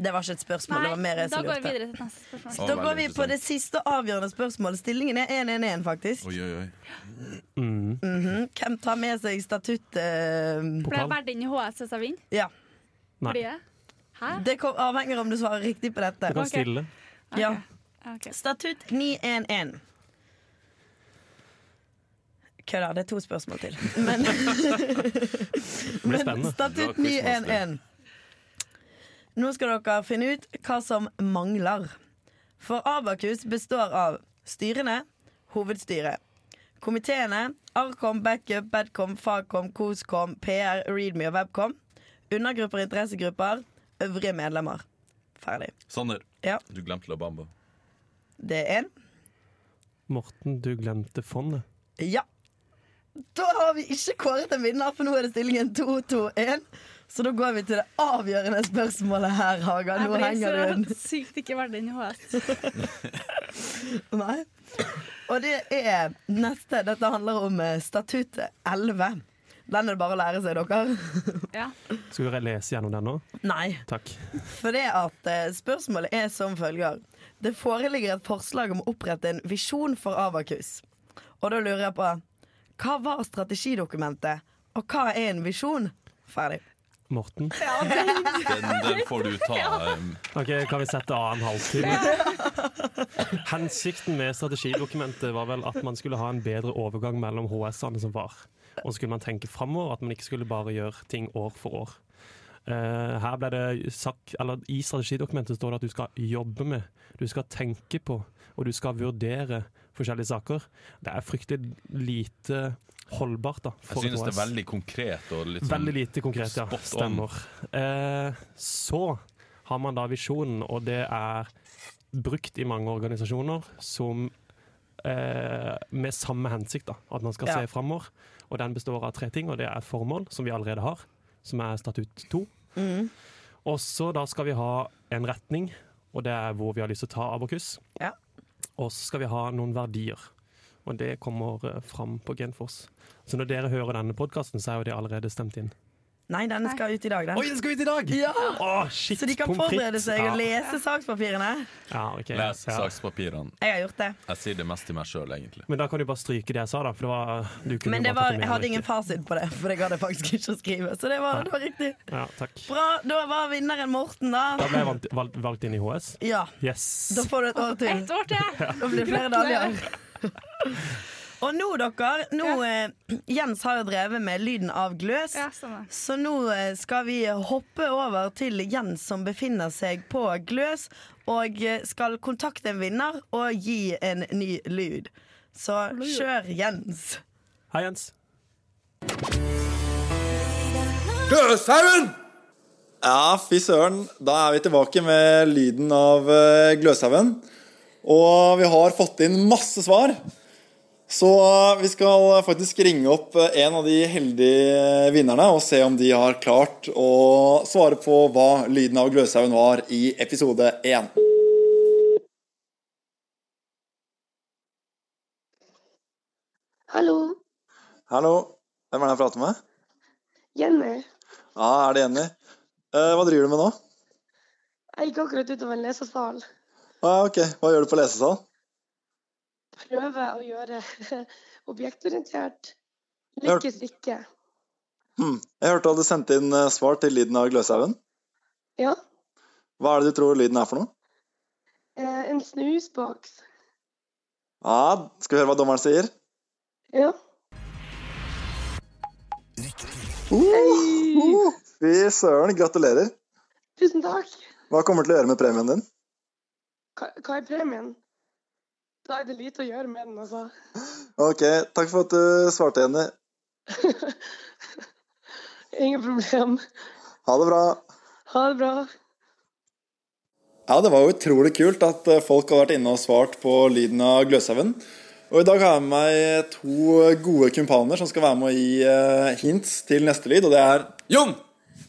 [SPEAKER 3] Det var ikke et spørsmål. det var mer
[SPEAKER 2] Nei,
[SPEAKER 3] jeg
[SPEAKER 2] da
[SPEAKER 3] som
[SPEAKER 2] går vi
[SPEAKER 3] lurte.
[SPEAKER 2] videre til neste
[SPEAKER 1] Å,
[SPEAKER 2] spørsmål.
[SPEAKER 3] Da
[SPEAKER 1] veldig
[SPEAKER 3] går vi på
[SPEAKER 1] interessant.
[SPEAKER 3] det siste og avgjørende spørsmålet. Stillingen er 1-1-1, faktisk.
[SPEAKER 1] Oi, oi, oi.
[SPEAKER 4] Mm.
[SPEAKER 3] Mhm. Hvem tar med seg statutt eh,
[SPEAKER 2] Ble jeg
[SPEAKER 4] Pokal?
[SPEAKER 2] valgt inn i HS hvis jeg vinner?
[SPEAKER 3] Ja.
[SPEAKER 4] Nei.
[SPEAKER 2] Blir jeg? Hæ?
[SPEAKER 3] Det kom, avhenger om du svarer riktig på
[SPEAKER 4] Du
[SPEAKER 3] dette.
[SPEAKER 4] kan
[SPEAKER 2] Ok.
[SPEAKER 4] stille.
[SPEAKER 2] Ok.
[SPEAKER 3] Ja.
[SPEAKER 2] Ok.
[SPEAKER 3] Statutt 911. Kødder, det er to spørsmål til. Men,
[SPEAKER 4] Det blir
[SPEAKER 3] men
[SPEAKER 1] Bra
[SPEAKER 4] spennende.
[SPEAKER 3] statutt
[SPEAKER 1] quizmaster.
[SPEAKER 3] 911. Nå skal dere finne ut hva som mangler. For Abakus består av styrene, hovedstyret, komiteene, Arkom, Backup, Badcom, Fagcom, Koscom, PR, Readme og Webcom, undergrupper, interessegrupper, øvrige medlemmer. Ferdig.
[SPEAKER 1] Sander,
[SPEAKER 3] Ja.
[SPEAKER 1] du glemte La Bamba.
[SPEAKER 3] Det er én.
[SPEAKER 4] Morten, du glemte fondet.
[SPEAKER 3] Ja. Da har vi ikke kåret en vinner, for nå er det stillingen 2-2-1. Så da går vi til det avgjørende spørsmålet her, Haga.
[SPEAKER 2] Jeg
[SPEAKER 3] Nå
[SPEAKER 2] ble
[SPEAKER 3] henger du
[SPEAKER 2] så
[SPEAKER 3] den.
[SPEAKER 2] sykt ikke verdig i HS.
[SPEAKER 3] Nei. Og det er neste. Dette handler om eh, statutt 11. Den er det bare å lære seg, dere.
[SPEAKER 2] Ja.
[SPEAKER 4] Skal vi lese gjennom den nå?
[SPEAKER 3] Nei.
[SPEAKER 4] Takk.
[SPEAKER 3] For det at eh, spørsmålet er som følger. Det foreligger et forslag om å opprette en visjon for Avakus. Og da lurer jeg på Hva var strategidokumentet, og hva er en visjon? Ferdig.
[SPEAKER 4] Morten.
[SPEAKER 1] Den, den får du ta. um, em.
[SPEAKER 4] Ok, Kan vi sette av en halvtime? Hensikten med strategidokumentet var vel at man skulle ha en bedre overgang mellom HS-ene som var. Og så skulle man tenke framover, at man ikke skulle bare gjøre ting år for år. Eh, her ble det sagt, eller I strategidokumentet står det at du skal jobbe med, du skal tenke på og du skal vurdere forskjellige saker. Det er fryktelig lite holdbart da,
[SPEAKER 1] Jeg
[SPEAKER 4] for et
[SPEAKER 1] synes det
[SPEAKER 4] HS.
[SPEAKER 1] er veldig konkret og litt sånn
[SPEAKER 4] Veldig lite konkret, ja.
[SPEAKER 1] spot on.
[SPEAKER 4] Stemmer. Eh, så har man da visjonen, og det er brukt i mange organisasjoner som eh, med samme hensikt, da. At man skal
[SPEAKER 3] Ja.
[SPEAKER 4] se framover. Og den består av tre ting, og det er formål, som vi allerede har, som er statutt to.
[SPEAKER 1] Mm.
[SPEAKER 4] Og så da skal vi ha en retning, og det er hvor vi har lyst til å ta Abokus.
[SPEAKER 3] Ja.
[SPEAKER 4] Og så skal vi ha noen verdier, og det kommer eh, fram på Genfors. Så når dere hører denne podkasten, så er jo det allerede stemt inn.
[SPEAKER 3] Nei, den skal ut i dag, den.
[SPEAKER 4] Oi, den skal ut i dag!
[SPEAKER 3] Ja!
[SPEAKER 4] Åh, shit,
[SPEAKER 3] Så de kan
[SPEAKER 4] pommes frites.
[SPEAKER 3] forberede seg og
[SPEAKER 4] ja.
[SPEAKER 3] lese sakspapirene.
[SPEAKER 4] Ja, ok.
[SPEAKER 1] Les
[SPEAKER 4] ja.
[SPEAKER 1] sakspapirene.
[SPEAKER 3] Jeg har gjort det.
[SPEAKER 1] Jeg sier det mest til meg sjøl, egentlig.
[SPEAKER 4] Men da kan du bare stryke det jeg sa, da. For det var, du kunne
[SPEAKER 3] Men
[SPEAKER 4] jo
[SPEAKER 3] det
[SPEAKER 4] bare tatt
[SPEAKER 3] var,
[SPEAKER 4] det med,
[SPEAKER 3] jeg hadde
[SPEAKER 4] eller
[SPEAKER 3] ingen
[SPEAKER 4] ikke.
[SPEAKER 3] fasit på det, for jeg hadde faktisk ikke å skrive. Så det var, det var riktig.
[SPEAKER 4] Ja, takk.
[SPEAKER 3] Bra. Da var vinneren Morten,
[SPEAKER 4] Da
[SPEAKER 3] da.
[SPEAKER 4] ble jeg valgt, valgt, valgt inn i HS.
[SPEAKER 3] Ja.
[SPEAKER 4] Yes.
[SPEAKER 3] Da får du et år til.
[SPEAKER 2] Ett år til!
[SPEAKER 3] Da blir det flere
[SPEAKER 2] Gratulerer.
[SPEAKER 3] dager. Og nå, dere nå, eh, Jens har jo drevet med lyden av gløs.
[SPEAKER 2] Ja, sånn stemmer.
[SPEAKER 3] Så nå eh, skal vi hoppe over til Jens som befinner seg på Gløs og eh, skal kontakte en vinner og gi en ny lyd. Så kjør, Jens.
[SPEAKER 4] Hei, Jens.
[SPEAKER 6] Gløshaugen!
[SPEAKER 7] Ja, fy søren. Da er vi tilbake med lyden av eh, Gløshaugen. Og vi har fått inn masse svar. Så eh, vi skal faktisk ringe opp eh, en av de heldige eh, vinnerne og se om de har klart å svare på hva lyden av Gløshaugen var i episode én.
[SPEAKER 8] Hallo,
[SPEAKER 7] Hallo. Hvem er det jeg prater med?
[SPEAKER 8] Jenny.
[SPEAKER 7] Ja, er det Jenny? Eh, Hva driver du med nå?
[SPEAKER 8] Jeg gikk akkurat ut av en lesesal.
[SPEAKER 7] Ah, ok, Hva gjør du på lesesal?
[SPEAKER 8] Prøver å gjøre objektorientert
[SPEAKER 7] Hør-
[SPEAKER 8] lykkestykke.
[SPEAKER 7] Hm. Jeg hørte du hadde sendt inn eh, svar til lyden av Gløshaugen.
[SPEAKER 8] Ja.
[SPEAKER 7] Hva er det du tror lyden er for noe?
[SPEAKER 8] Eh, en snusboks.
[SPEAKER 7] Ja, Skal vi høre hva dommeren sier?
[SPEAKER 8] Ja.
[SPEAKER 7] Uh, fy søren, gratulerer.
[SPEAKER 8] Tusen takk.
[SPEAKER 7] Hva kommer du til å gjøre med premien din?
[SPEAKER 8] Hva, hva er premien? Da er det lite å gjøre med den, altså.
[SPEAKER 7] Ok, takk for at du svarte, Jenny.
[SPEAKER 8] Ingen problem.
[SPEAKER 7] Ha det bra.
[SPEAKER 8] Ha det bra.
[SPEAKER 7] Ja, det var jo utrolig kult at eh, folk har vært inne og svart på lyden av Gløshaugen. Og i dag har jeg med meg eh, to gode kumpaner som skal være med å gi eh, hints til neste lyd, og det er
[SPEAKER 6] Jon!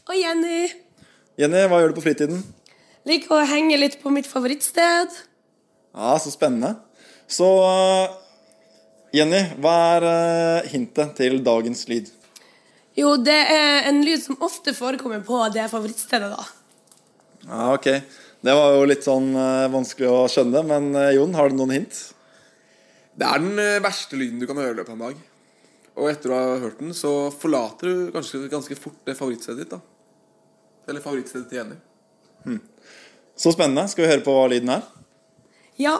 [SPEAKER 9] Og Jenny
[SPEAKER 7] Jenny, hva gjør du på fritiden?
[SPEAKER 9] liker å henge litt på mitt favorittsted.
[SPEAKER 7] Ja, så spennende. Så eh, Jenny, hva er eh, hintet til dagens lyd?
[SPEAKER 9] Jo, det er en lyd som ofte forekommer på det favorittstedet, da.
[SPEAKER 7] Ja, ok. Det var jo litt sånn eh, vanskelig å skjønne, men eh, Jon, har du noen hint?
[SPEAKER 6] Det er den eh, verste lyden du kan høre i løpet av en dag. Og etter du har hørt den, så forlater du ganske, ganske fort det favorittstedet ditt. da. Eller favorittstedet til Jenny.
[SPEAKER 7] Så spennende. Skal vi høre på hva lyden er?
[SPEAKER 9] Ja.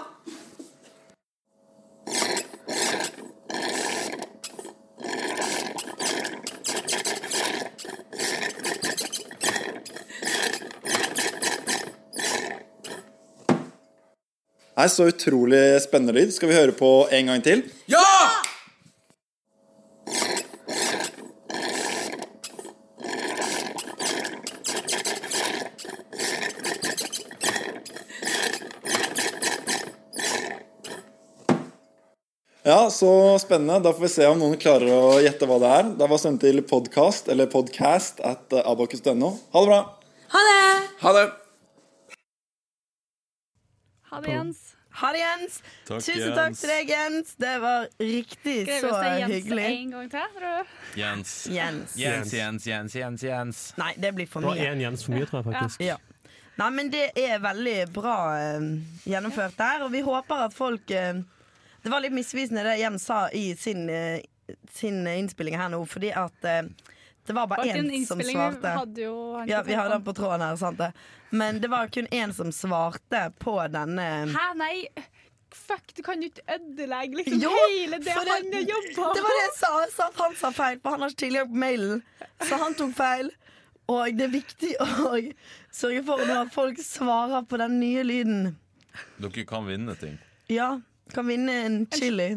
[SPEAKER 7] Nei, så utrolig spennende lyd. Skal vi høre på en gang til?
[SPEAKER 6] Ja!
[SPEAKER 7] Ja, så spennende. Da får vi se om noen klarer å gjette hva det er. Da var sendt til podcast, eller podcast at abakus.no. Ha det bra!
[SPEAKER 9] Ha det!
[SPEAKER 6] Ha det!
[SPEAKER 2] Ha det, Jens.
[SPEAKER 3] Ha det, Jens.
[SPEAKER 1] Takk,
[SPEAKER 3] Tusen
[SPEAKER 1] Jens.
[SPEAKER 3] takk til deg, Jens. Det var riktig
[SPEAKER 2] Greier vi
[SPEAKER 3] så
[SPEAKER 2] å si Jens
[SPEAKER 3] hyggelig.
[SPEAKER 2] en gang til? Tror du?
[SPEAKER 1] Jens.
[SPEAKER 3] Jens.
[SPEAKER 4] Jens,
[SPEAKER 1] Jens, Jens, Jens, Jens.
[SPEAKER 3] Nei, det blir for
[SPEAKER 4] Det var
[SPEAKER 3] mye.
[SPEAKER 4] én Jens for mye, tror jeg faktisk.
[SPEAKER 3] Ja. Nei, men det er veldig bra eh, gjennomført der, og vi håper at folk eh, Det var litt misvisende det Jens sa i sin, eh, sin innspilling her nå, fordi at eh, det var bare
[SPEAKER 2] Var ikke
[SPEAKER 3] én
[SPEAKER 2] en
[SPEAKER 3] som
[SPEAKER 2] innspilling vi
[SPEAKER 3] svarte.
[SPEAKER 2] hadde jo han
[SPEAKER 3] Ja,
[SPEAKER 2] på
[SPEAKER 3] vi har den
[SPEAKER 2] telefonen.
[SPEAKER 3] på tråden her, sant det. Men det var kun én som svarte på denne
[SPEAKER 2] Hæ, nei! Fuck, du kan jo ikke ødelegge liksom
[SPEAKER 3] Jo,
[SPEAKER 2] hele det
[SPEAKER 3] for det-
[SPEAKER 2] han har jobba
[SPEAKER 3] Det var det jeg sa, jeg sa at han sa feil, for han har ikke tilgang på mailen. Så han tok feil. Og det er viktig å sørge for nå at folk svarer på den nye lyden.
[SPEAKER 1] Dere kan vinne ting.
[SPEAKER 3] Ja, kan vinne en chili.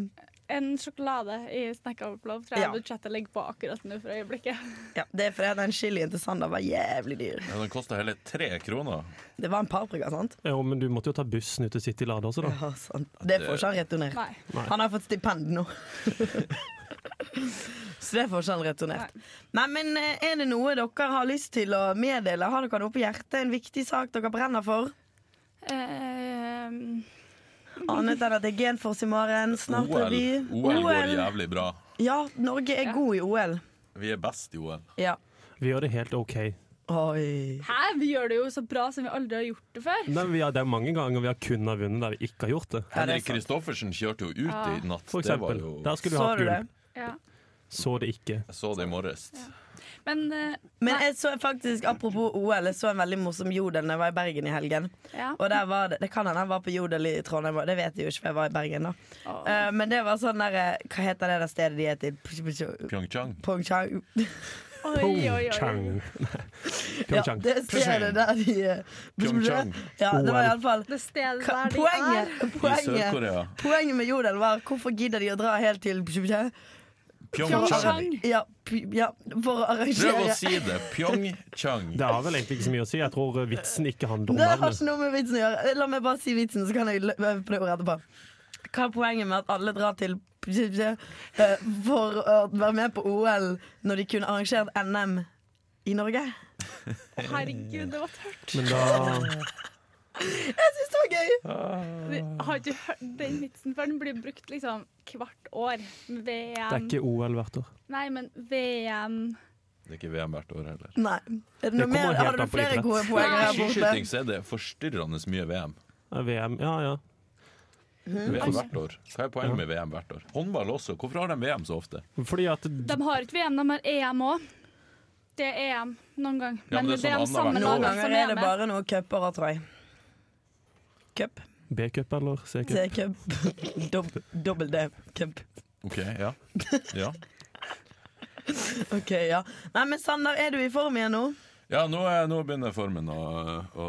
[SPEAKER 2] En sjokolade i Snack Overflow tror jeg
[SPEAKER 3] Ja.
[SPEAKER 2] budsjettet ligger på akkurat nå for øyeblikket.
[SPEAKER 3] Ja, Det er fordi at den chilien til Sander var jævlig dyr.
[SPEAKER 1] Ja, den koster hele tre kroner.
[SPEAKER 3] Det var en paprika, sant?
[SPEAKER 4] Jo, men du måtte jo ta bussen ut til City Lade også, da.
[SPEAKER 3] Ja, sant. Det får ikke han returnert.
[SPEAKER 2] Nei.
[SPEAKER 3] Han har fått stipend nå. Så det får ikke han returnert. Nei, men eh, er det noe dere har lyst til å meddele? Har dere noe på hjertet? En viktig sak dere brenner for?
[SPEAKER 2] Ehm,
[SPEAKER 3] Annet enn at det er genfors i morgen. Snart
[SPEAKER 1] OL.
[SPEAKER 3] revy.
[SPEAKER 1] OL går jævlig bra.
[SPEAKER 3] Ja, Norge er god i OL.
[SPEAKER 1] Vi er best i OL.
[SPEAKER 3] Ja.
[SPEAKER 4] Vi gjør det helt OK.
[SPEAKER 3] Oi.
[SPEAKER 2] Hæ, vi gjør det jo så bra som vi aldri har gjort det før.
[SPEAKER 4] Men vi har, det er mange ganger vi har kunnet ha vunnet der vi ikke har gjort det.
[SPEAKER 3] Ja, det er
[SPEAKER 1] Henrik
[SPEAKER 3] sant.
[SPEAKER 1] Kristoffersen kjørte jo ut i natt.
[SPEAKER 4] For
[SPEAKER 1] Det var
[SPEAKER 4] eksempel.
[SPEAKER 1] jo
[SPEAKER 4] Der skulle vi
[SPEAKER 3] Så
[SPEAKER 4] hatt
[SPEAKER 3] du det?
[SPEAKER 4] gul.
[SPEAKER 2] Ja.
[SPEAKER 4] Så det ikke.
[SPEAKER 1] Jeg så det i morges.
[SPEAKER 2] Men eh,
[SPEAKER 3] Men jeg så faktisk, apropos OL, jeg så en veldig morsom jodel da jeg var i Bergen i helgen.
[SPEAKER 2] ja.
[SPEAKER 3] Og der var det, det kan hende han var på Jodel i Trondheim, og det vet jeg jo ikke, for jeg var i Bergen da.
[SPEAKER 2] Åh.
[SPEAKER 3] Eh, men det var sånn der eh, Hva heter det der stedet de er til?
[SPEAKER 1] Pyeongchang.
[SPEAKER 3] Pyeongchang.
[SPEAKER 2] Oi,
[SPEAKER 4] Pong
[SPEAKER 2] oi, oi.
[SPEAKER 4] Chang.
[SPEAKER 3] Ja,
[SPEAKER 4] Pyeongchang. Chang.
[SPEAKER 3] det stedet der de eh,
[SPEAKER 1] Pyeongchang.
[SPEAKER 3] Ja, det var iallfall
[SPEAKER 2] Det stedet der de
[SPEAKER 3] Poenget,
[SPEAKER 2] er.
[SPEAKER 1] I
[SPEAKER 3] poenget,
[SPEAKER 1] Sør-Korea.
[SPEAKER 3] poenget med Jodel var hvorfor gidder de å dra helt til Pyeongchang?
[SPEAKER 1] Pyeongchang.
[SPEAKER 3] Ja, py- ja,
[SPEAKER 1] Prøv
[SPEAKER 3] for å
[SPEAKER 1] å
[SPEAKER 3] arrangere
[SPEAKER 1] si det. Pyeongchang.
[SPEAKER 4] Det har vel egentlig ikke så mye å si. Jeg tror eh, vitsen ikke handler om
[SPEAKER 3] Det har
[SPEAKER 4] navnet.
[SPEAKER 3] ikke noe med vitsen å gjøre. La meg bare si vitsen, så kan jeg lø- øve på det ordet etterpå. Hva er poenget med at alle drar til eh, for å være med på OL når de kunne arrangert NM i Norge?
[SPEAKER 2] Å, Herregud, det var tørt.
[SPEAKER 4] Men da
[SPEAKER 3] Jeg syns det var gøy!
[SPEAKER 2] Vi har ikke hørt den vitsen før. Den blir brukt liksom hvert år.
[SPEAKER 4] Det er
[SPEAKER 2] VM
[SPEAKER 4] ikke OL hvert år.
[SPEAKER 2] Nei, men VM
[SPEAKER 1] Det er ikke VM hvert år heller.
[SPEAKER 3] Nei. Er det
[SPEAKER 4] Det
[SPEAKER 3] noe mer?
[SPEAKER 4] kommer helt
[SPEAKER 3] Har du
[SPEAKER 4] an på
[SPEAKER 3] flere
[SPEAKER 4] idrett.
[SPEAKER 3] gode poeng her borte?
[SPEAKER 1] Skiskyting så er det forstyrrende mye VM.
[SPEAKER 4] Eh, VM, ja ja.
[SPEAKER 1] VM hvert år. Hva er poenget med VM hvert år? Håndball også. Hvorfor har de VM så ofte?
[SPEAKER 4] Fordi at
[SPEAKER 2] De har ikke VM, de har EM òg. Det er EM noen gang.
[SPEAKER 1] Ja, men
[SPEAKER 2] men
[SPEAKER 1] det er
[SPEAKER 2] det er
[SPEAKER 1] sånn
[SPEAKER 2] de
[SPEAKER 1] annet
[SPEAKER 2] samme
[SPEAKER 1] hvert
[SPEAKER 3] Noen
[SPEAKER 1] år.
[SPEAKER 2] lagene
[SPEAKER 3] ganger
[SPEAKER 2] som
[SPEAKER 3] er
[SPEAKER 2] er
[SPEAKER 3] det
[SPEAKER 2] med.
[SPEAKER 3] bare noen cuper, tror jeg. Cup,
[SPEAKER 4] B-cup eller C-cup?
[SPEAKER 3] C-cup, dob dobbel D-cup.
[SPEAKER 1] Ok, ja. Ja,
[SPEAKER 3] OK, ja. Nei, men Sander, er du i form igjen nå?
[SPEAKER 1] ja nå, er, nå begynner formen å, å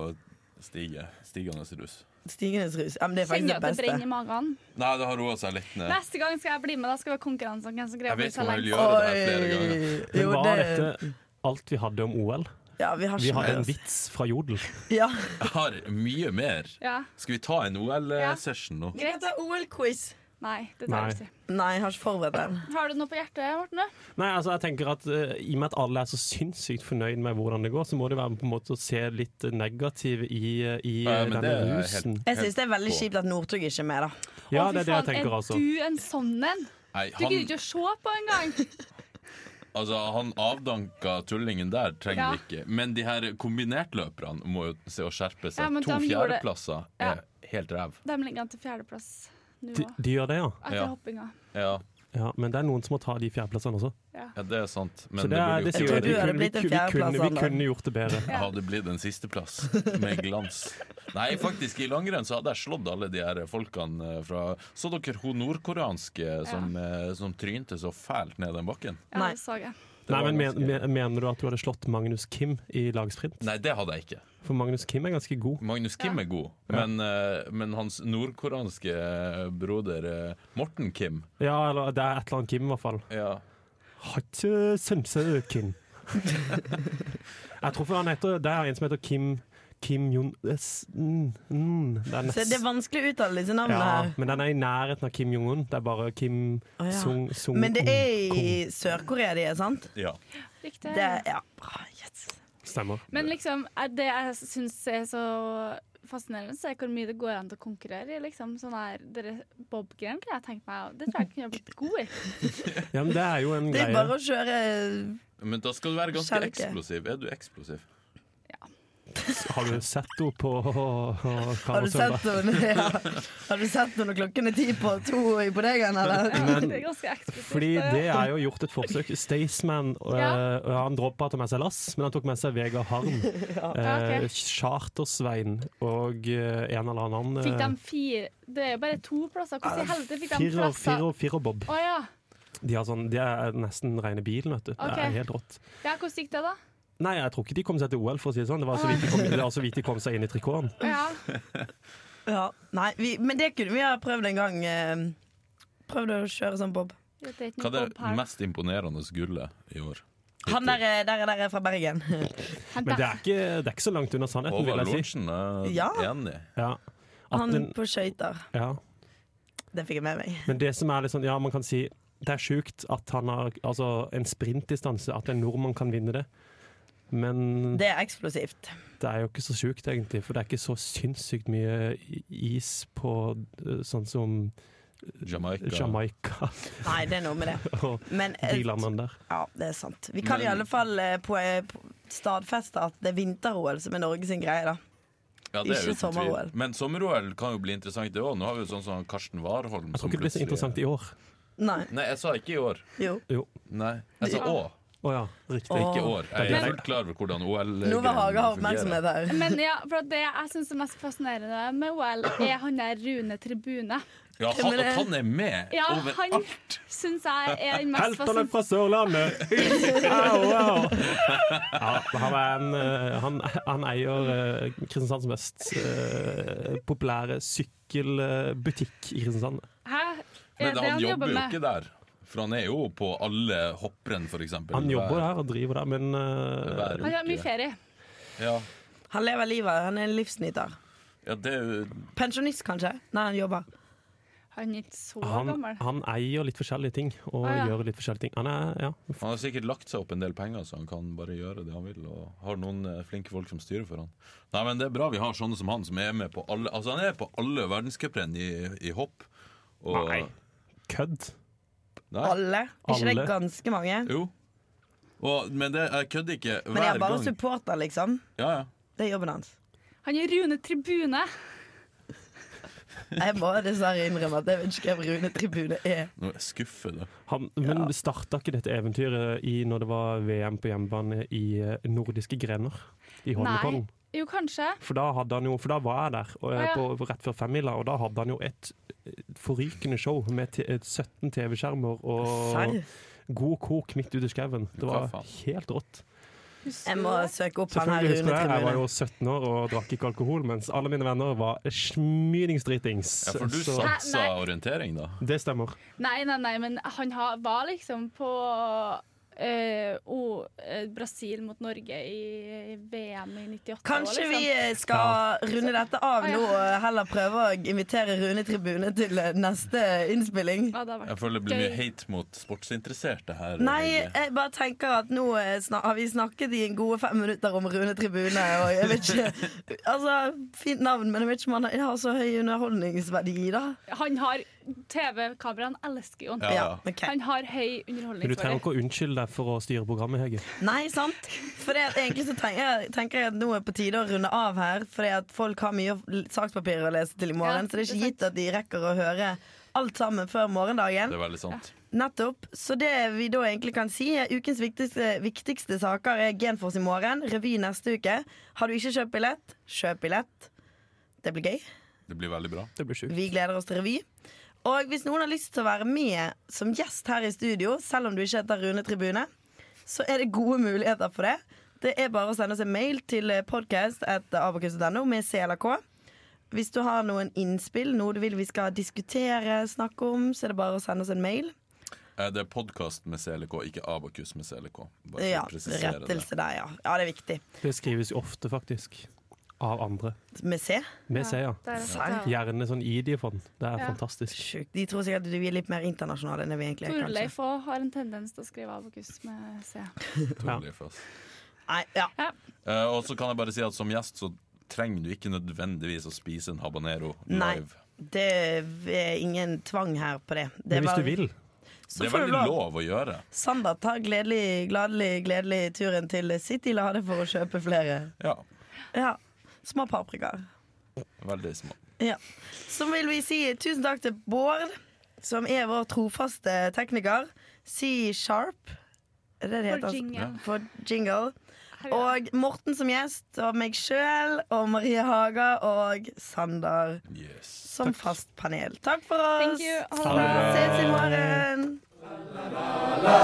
[SPEAKER 1] stige. Stigende rus.
[SPEAKER 3] Stigenes rus. Ja, men det
[SPEAKER 2] Kjenner
[SPEAKER 3] er faktisk det
[SPEAKER 2] at det
[SPEAKER 3] beste.
[SPEAKER 2] brenner i magen.
[SPEAKER 1] Nei, det har roa seg litt ned.
[SPEAKER 2] Neste gang skal jeg bli med. Da skal vi ha konkurranse om hvem som greier
[SPEAKER 1] Jeg
[SPEAKER 2] å bli
[SPEAKER 1] vet ikke om jeg vil
[SPEAKER 2] lengst.
[SPEAKER 1] gjøre det her flere ganger.
[SPEAKER 3] Jo,
[SPEAKER 4] Men var
[SPEAKER 3] det-
[SPEAKER 4] dette alt vi hadde om OL?
[SPEAKER 3] Ja, vi har
[SPEAKER 4] Vi
[SPEAKER 3] ikke
[SPEAKER 4] hadde en
[SPEAKER 3] oss.
[SPEAKER 4] vits fra Jodel.
[SPEAKER 3] Ja.
[SPEAKER 1] Jeg har mye mer.
[SPEAKER 2] Ja.
[SPEAKER 1] Skal vi ta en OL-session nå?
[SPEAKER 3] Greit, da. OL-quiz.
[SPEAKER 2] Nei, det tar jeg
[SPEAKER 4] Nei.
[SPEAKER 2] ikke.
[SPEAKER 3] Nei, jeg har ikke forberedt den.
[SPEAKER 2] Har du noe på hjertet, Morten?
[SPEAKER 4] Nei, altså jeg tenker at eh, I og med at alle er så sinnssykt fornøyd med hvordan det går, så må det være på en måte å se litt negativ i, eh, i
[SPEAKER 1] Ja, Eh, men
[SPEAKER 4] denne
[SPEAKER 1] det er helt-
[SPEAKER 4] rusen.
[SPEAKER 3] Jeg syns det er veldig
[SPEAKER 1] På.
[SPEAKER 3] kjipt at Northug ikke er med, da.
[SPEAKER 4] Ja,
[SPEAKER 2] Å, fy
[SPEAKER 4] det er det jeg
[SPEAKER 2] faen,
[SPEAKER 4] tenker, altså.
[SPEAKER 2] Er du en sånn en?
[SPEAKER 1] Nei,
[SPEAKER 2] Du gidder
[SPEAKER 1] han,
[SPEAKER 2] ikke å se på engang.
[SPEAKER 1] altså, han avdanka tullingen der trenger
[SPEAKER 2] Ja.
[SPEAKER 1] vi ikke. Men de her kombinertløperne må jo se å skjerpe seg.
[SPEAKER 2] Ja, men
[SPEAKER 1] to
[SPEAKER 2] de gjorde-
[SPEAKER 1] fjerdeplasser
[SPEAKER 2] Ja.
[SPEAKER 1] er helt ræv.
[SPEAKER 2] De ligger an til fjerdeplass nå
[SPEAKER 4] De,
[SPEAKER 2] òg,
[SPEAKER 4] de gjør det, ja.
[SPEAKER 2] etter
[SPEAKER 1] Ja.
[SPEAKER 2] hoppinga.
[SPEAKER 1] Ja,
[SPEAKER 4] ja. Men det er noen som må ta de fjerdeplassene også.
[SPEAKER 1] ja, det er sant. Men
[SPEAKER 4] Så det, er, det
[SPEAKER 1] burde jo
[SPEAKER 4] sier
[SPEAKER 3] Jeg tror
[SPEAKER 4] jo at vi
[SPEAKER 3] du hadde
[SPEAKER 4] kunne, vi,
[SPEAKER 3] blitt en
[SPEAKER 4] kunne, vi, kunne, vi
[SPEAKER 3] fjerdeplass, Sander.
[SPEAKER 4] kunne gjort det bedre.
[SPEAKER 1] Jeg hadde blitt en sisteplass med glans. Nei, faktisk, i langrenn så hadde jeg slått alle de her folkene eh, fra Så dere hun nordkoreanske som, eh, som trynte så fælt ned den bakken?
[SPEAKER 2] Ja,
[SPEAKER 3] Nei.
[SPEAKER 2] det så jeg.
[SPEAKER 1] Det
[SPEAKER 4] Nei,
[SPEAKER 1] var
[SPEAKER 4] men men,
[SPEAKER 1] ganske-
[SPEAKER 4] men- Mener du at du hadde slått Magnus Kim i lagsprint?
[SPEAKER 1] Nei, det hadde jeg ikke.
[SPEAKER 4] For Magnus Kim er ganske god.
[SPEAKER 1] Magnus Kim er god, men, eh, men hans nordkoreanske eh, broder eh, Morten Kim
[SPEAKER 4] Ja, eller det er et eller annet Kim, i hvert fall.
[SPEAKER 1] ja.
[SPEAKER 4] Hatje Sønse Kim. Jeg tror for han heter, Det er en som heter Kim Kim Jong... S- mm, mm. Det
[SPEAKER 3] Så det er
[SPEAKER 4] er nesten
[SPEAKER 3] vanskelig å uttale disse navnene
[SPEAKER 4] ja,
[SPEAKER 3] her.
[SPEAKER 4] Men den er i nærheten av Kim Jong-un. Det er bare Kim
[SPEAKER 3] Å, ja.
[SPEAKER 4] Sung Sung
[SPEAKER 3] Men det er i
[SPEAKER 4] Kong.
[SPEAKER 3] Sør-Korea de er, sant?
[SPEAKER 1] Ja.
[SPEAKER 2] Riktig.
[SPEAKER 3] Det, ja, bra. Yes.
[SPEAKER 4] Stemmer.
[SPEAKER 2] Men liksom, er det jeg syns er så fascinerende, så er hvor mye det går an til å konkurrere i. Liksom. Sånn her, dere Bob-greiene kunne jeg tenkt meg Det tror jeg kunne jeg blitt god i.
[SPEAKER 4] Ja, men det er jo en
[SPEAKER 3] Det er
[SPEAKER 4] greie.
[SPEAKER 3] bare å kjøre
[SPEAKER 1] Men da skal du være ganske
[SPEAKER 3] Skjelke.
[SPEAKER 1] eksplosiv. Er du eksplosiv?
[SPEAKER 4] Har du sett henne på
[SPEAKER 3] Har du
[SPEAKER 4] Karasøndag?
[SPEAKER 3] sett henne ja. Har du sett henne når klokken er ti på to i Bodegaen, eller?
[SPEAKER 2] Ja,
[SPEAKER 4] Men-
[SPEAKER 2] det er ganske eksplosivt.
[SPEAKER 4] Fordi
[SPEAKER 2] da, ja.
[SPEAKER 4] det er jo gjort et forsøk. Staysman
[SPEAKER 2] Ja.
[SPEAKER 4] øh, han droppa å ta med seg lass, men han tok med seg Vegard Harm.
[SPEAKER 2] Ja,
[SPEAKER 4] eh,
[SPEAKER 2] ok.
[SPEAKER 4] Chartersvein og eh, en eller annen
[SPEAKER 2] Fikk de
[SPEAKER 4] eh,
[SPEAKER 2] fire Det er jo bare to plasser. Hvordan i helvete fikk de
[SPEAKER 4] Firo-
[SPEAKER 2] plasser?
[SPEAKER 4] Firo- Firobob.
[SPEAKER 2] Å ja.
[SPEAKER 4] De, har sånn, de er nesten rene bilen, vet du. Det
[SPEAKER 2] Ok.
[SPEAKER 4] er helt rått.
[SPEAKER 2] ja. Hvordan gikk det, da?
[SPEAKER 4] Nei, jeg tror ikke de kom seg til OL, for å si det sånn. Det var
[SPEAKER 2] Ah.
[SPEAKER 4] så vidt de kom, det var så vidt de kom seg inn i trikoten.
[SPEAKER 2] Ja.
[SPEAKER 3] Ja. Nei, vi, men det kunne vi ha prøvd en gang. eh, Prøvd å kjøre sånn bob.
[SPEAKER 2] Dette er ikke
[SPEAKER 1] Hva
[SPEAKER 2] noe
[SPEAKER 1] er
[SPEAKER 2] Bob her.
[SPEAKER 1] det mest imponerende gullet i år?
[SPEAKER 3] Han der, eh, der, er- der er fra Bergen.
[SPEAKER 2] Han
[SPEAKER 4] Men det
[SPEAKER 2] der.
[SPEAKER 4] er ikke, det er ikke så langt unna sannheten,
[SPEAKER 1] Håvard
[SPEAKER 4] vil jeg si.
[SPEAKER 1] Lorentzen er
[SPEAKER 3] Ja.
[SPEAKER 1] eh, enig.
[SPEAKER 4] Ja. At
[SPEAKER 3] Han
[SPEAKER 4] den,
[SPEAKER 3] på skøyter.
[SPEAKER 4] ja.
[SPEAKER 3] Det fikk jeg med meg.
[SPEAKER 4] Men det som er litt sånn, ja, man kan si det er sjukt at han har altså, en sprintdistanse, at en nordmann kan vinne det. Men
[SPEAKER 3] Det er eksplosivt.
[SPEAKER 4] det er jo ikke så sjukt, egentlig, for det er ikke så sinnssykt mye i- is på eh, sånn som
[SPEAKER 1] Jamaica.
[SPEAKER 4] Jamaica
[SPEAKER 3] Nei, det er noe med det.
[SPEAKER 4] og
[SPEAKER 3] Men eh,
[SPEAKER 4] de landene der.
[SPEAKER 3] ja, det er sant. Vi kan
[SPEAKER 1] Men-
[SPEAKER 3] i alle fall eh, på, eh, på stadfeste at det er vinter-OL som er Norge sin greie, da.
[SPEAKER 1] Ja, det er
[SPEAKER 3] Ikke
[SPEAKER 1] uten tvil.
[SPEAKER 3] sommer-OL.
[SPEAKER 1] Men sommer-OL kan jo bli interessant, det òg. Nå har vi jo sånn som Karsten Warholm.
[SPEAKER 4] Jeg tror ikke det blir så interessant i år.
[SPEAKER 3] Nei.
[SPEAKER 1] Nei, jeg sa ikke i år.
[SPEAKER 3] Jo.
[SPEAKER 4] Jo.
[SPEAKER 1] Nei, jeg sa å.
[SPEAKER 4] Å ja, riktig.
[SPEAKER 3] Åh.
[SPEAKER 1] Ikke år. Jeg
[SPEAKER 4] Men-
[SPEAKER 1] er fullt klar over hvordan OL
[SPEAKER 3] Nå vil Hage ha oppmerksomhet her.
[SPEAKER 2] Men ja, for det jeg syns er mest fascinerende med OL, er han der Rune Tribune.
[SPEAKER 1] Ja,
[SPEAKER 3] Hvem
[SPEAKER 1] han,
[SPEAKER 3] er det?
[SPEAKER 1] at han er med
[SPEAKER 2] Ja, han
[SPEAKER 1] overalt!
[SPEAKER 2] syns jeg er den mest
[SPEAKER 4] Heltene
[SPEAKER 2] fascinerende.
[SPEAKER 4] fra Sørlandet! Au, au. Ja, han, er en, eh, han, han eier eh, Kristiansands mest eh, populære sykkelbutikk i Kristiansand.
[SPEAKER 2] Hæ? Er
[SPEAKER 1] Men han,
[SPEAKER 2] det han
[SPEAKER 1] jobber
[SPEAKER 2] jobber
[SPEAKER 1] jo
[SPEAKER 2] med?
[SPEAKER 1] ikke der. For han er jo på alle hopprenn, for eksempel.
[SPEAKER 4] Han jobber
[SPEAKER 1] Hver-
[SPEAKER 4] der og driver der, men eh,
[SPEAKER 1] hver
[SPEAKER 2] Han har
[SPEAKER 1] uke.
[SPEAKER 2] mye ferie.
[SPEAKER 1] Ja.
[SPEAKER 3] Han lever livet. Han er en livsnyter.
[SPEAKER 1] ja, det er jo
[SPEAKER 3] Pensjonist, kanskje? Nei, han jobber.
[SPEAKER 2] Han er ikke så
[SPEAKER 4] han,
[SPEAKER 2] gammel.
[SPEAKER 4] han eier litt forskjellige ting og
[SPEAKER 2] Ah, ja.
[SPEAKER 4] gjør litt forskjellige ting. Han er, ja.
[SPEAKER 1] Han har sikkert lagt seg opp en del penger, så han kan bare gjøre det han vil. Og har noen eh, flinke folk som styrer for han. Nei, men Det er bra vi har sånne som han, som er med på alle Altså han er på alle verdenscuprenn i, i hopp. Og,
[SPEAKER 4] Nei. Kødd.
[SPEAKER 1] Nei.
[SPEAKER 3] Alle. Ikke det
[SPEAKER 4] Alle.
[SPEAKER 3] ganske mange?
[SPEAKER 1] Jo. Og, men det, jeg kødder ikke.
[SPEAKER 3] Men jeg er
[SPEAKER 1] Hver
[SPEAKER 3] bare
[SPEAKER 1] gang.
[SPEAKER 3] supporter, liksom.
[SPEAKER 1] Ja, ja.
[SPEAKER 3] Det er jobben hans.
[SPEAKER 2] Han er Rune Tribune.
[SPEAKER 3] Jeg må dessverre innrømme at jeg vet ikke hvem Rune Tribune er.
[SPEAKER 1] Nå er jeg skuffet. da.
[SPEAKER 4] Han, men starta ikke dette eventyret i når det var VM på hjemmebane i eh, nordiske grener i Holmenkollen?
[SPEAKER 2] Jo, kanskje.
[SPEAKER 4] For da, hadde han jo, for da var jeg der og,
[SPEAKER 2] Å, ja.
[SPEAKER 4] på, rett før femmila, og da hadde han jo et forrykende show med t 17 TV-skjermer og
[SPEAKER 3] Serr?
[SPEAKER 4] god kok midt ute i skauen. Det
[SPEAKER 1] Hva
[SPEAKER 4] var
[SPEAKER 1] faen?
[SPEAKER 4] helt rått.
[SPEAKER 2] Husker
[SPEAKER 3] Jeg
[SPEAKER 2] du
[SPEAKER 3] må
[SPEAKER 2] det?
[SPEAKER 3] søke opp han her,
[SPEAKER 4] Selvfølgelig
[SPEAKER 3] Rune
[SPEAKER 4] husker jeg, jeg var
[SPEAKER 3] Tribune.
[SPEAKER 4] jo 17 år og drakk ikke alkohol, mens alle mine venner var smyningsdritings.
[SPEAKER 1] Ja, for du
[SPEAKER 4] Så-
[SPEAKER 1] satsa
[SPEAKER 2] Nei, nei.
[SPEAKER 1] orientering, da?
[SPEAKER 4] Det stemmer.
[SPEAKER 2] Nei, nei, nei, men han ha, var liksom på eh, o, eh, Brasil mot Norge i, i VM i 98.
[SPEAKER 3] Kanskje
[SPEAKER 2] og
[SPEAKER 3] vi
[SPEAKER 2] liksom.
[SPEAKER 3] eh, skal runde dette av
[SPEAKER 2] Ah, ja.
[SPEAKER 3] nå og heller prøve å invitere Rune Tribune til eh, neste innspilling?
[SPEAKER 2] ja, det har vært.
[SPEAKER 1] Jeg føler det blir mye
[SPEAKER 2] Gøy.
[SPEAKER 1] hate mot sportsinteresserte her. eh,
[SPEAKER 3] Nei, eh,
[SPEAKER 1] Helge.
[SPEAKER 3] jeg bare tenker at nå eh, sna- har vi snakket i en gode fem minutter om Rune Tribune, og jeg vet ikke Altså, fint navn, men jeg vet ikke om han har så høy underholdningsverdi, da.
[SPEAKER 2] Han har TV-kamera, han elsker jo han.
[SPEAKER 1] Ja, ja.
[SPEAKER 3] ok.
[SPEAKER 2] Han har høy
[SPEAKER 4] Men du trenger
[SPEAKER 2] underholdningsverdi.
[SPEAKER 4] ikke å unnskylde deg for å styre programmet, Hege.
[SPEAKER 3] Nei, sant? For det at egentlig så tenker jeg, tenker jeg at nå er på tide å runde av her, fordi at folk har mye l- sakspapir å lese til i morgen,
[SPEAKER 2] Ja,
[SPEAKER 3] så det er
[SPEAKER 2] det er
[SPEAKER 3] ikke gitt at de rekker å høre alt sammen før morgendagen.
[SPEAKER 1] Det er veldig sant.
[SPEAKER 3] Nettopp. Så det vi da egentlig kan si, er ukens viktigste, viktigste saker er Genfors i morgen, revy neste uke. Har du ikke kjøpt billett, kjøp billett. Det blir gøy.
[SPEAKER 1] Det blir veldig bra.
[SPEAKER 4] Det blir sjukt.
[SPEAKER 3] Vi gleder oss til revy. Og hvis noen har lyst til å være med som gjest her i studio, selv om du ikke heter Rune Tribune, så er det gode muligheter for det. Det er bare å sende oss en mail til podcast.abakus.no med CLAK. Hvis du har noen innspill, noe du vil vi skal diskutere, snakke om, så er det bare å sende oss en mail.
[SPEAKER 1] Eh, Det er podkast med CLK, ikke Abakus med CLK. Bare for
[SPEAKER 3] Ja,
[SPEAKER 1] å presisere det.
[SPEAKER 3] rettelse der, ja. Ja, det er viktig.
[SPEAKER 4] Det skrives jo ofte, faktisk. av andre.
[SPEAKER 3] Med C?
[SPEAKER 4] Med C, ja.
[SPEAKER 2] Der,
[SPEAKER 3] Serr?
[SPEAKER 2] ja.
[SPEAKER 4] Gjerne sånn ID-fond. Det er
[SPEAKER 2] Ja.
[SPEAKER 4] fantastisk.
[SPEAKER 3] Sjukt. De tror sikkert at vi er litt mer internasjonale enn det vi egentlig er. kanskje.
[SPEAKER 2] Torleif òg har en tendens til å skrive abokus med C.
[SPEAKER 1] Utrolig for oss.
[SPEAKER 3] Nei, ja.
[SPEAKER 1] Eh, og så kan jeg bare si at som gjest så trenger du ikke nødvendigvis å spise en habanero
[SPEAKER 3] Nei.
[SPEAKER 1] live.
[SPEAKER 3] Det er ingen tvang her på det. det
[SPEAKER 4] Men
[SPEAKER 3] var-
[SPEAKER 4] hvis du vil,
[SPEAKER 3] så
[SPEAKER 1] Det er
[SPEAKER 3] får du
[SPEAKER 1] veldig lov å gjøre.
[SPEAKER 3] Sander tar gledelig, gladelig, gledelig turen til City Lade for å kjøpe flere.
[SPEAKER 1] Ja,
[SPEAKER 3] Ja. Små paprikaer.
[SPEAKER 1] veldig små.
[SPEAKER 3] Ja. Så vil vi si tusen takk til Bård, som er vår trofaste tekniker. C Sharp. Er det det
[SPEAKER 2] For
[SPEAKER 3] heter?
[SPEAKER 2] jingle.
[SPEAKER 3] For jingle.
[SPEAKER 2] Og
[SPEAKER 3] Og Morten som gjest, og meg sjøl, og Marie Haga, og Sander
[SPEAKER 1] Yes.
[SPEAKER 3] som fast panel. Takk for oss.
[SPEAKER 2] thank you. Ha det bra.
[SPEAKER 3] Ses i morgen.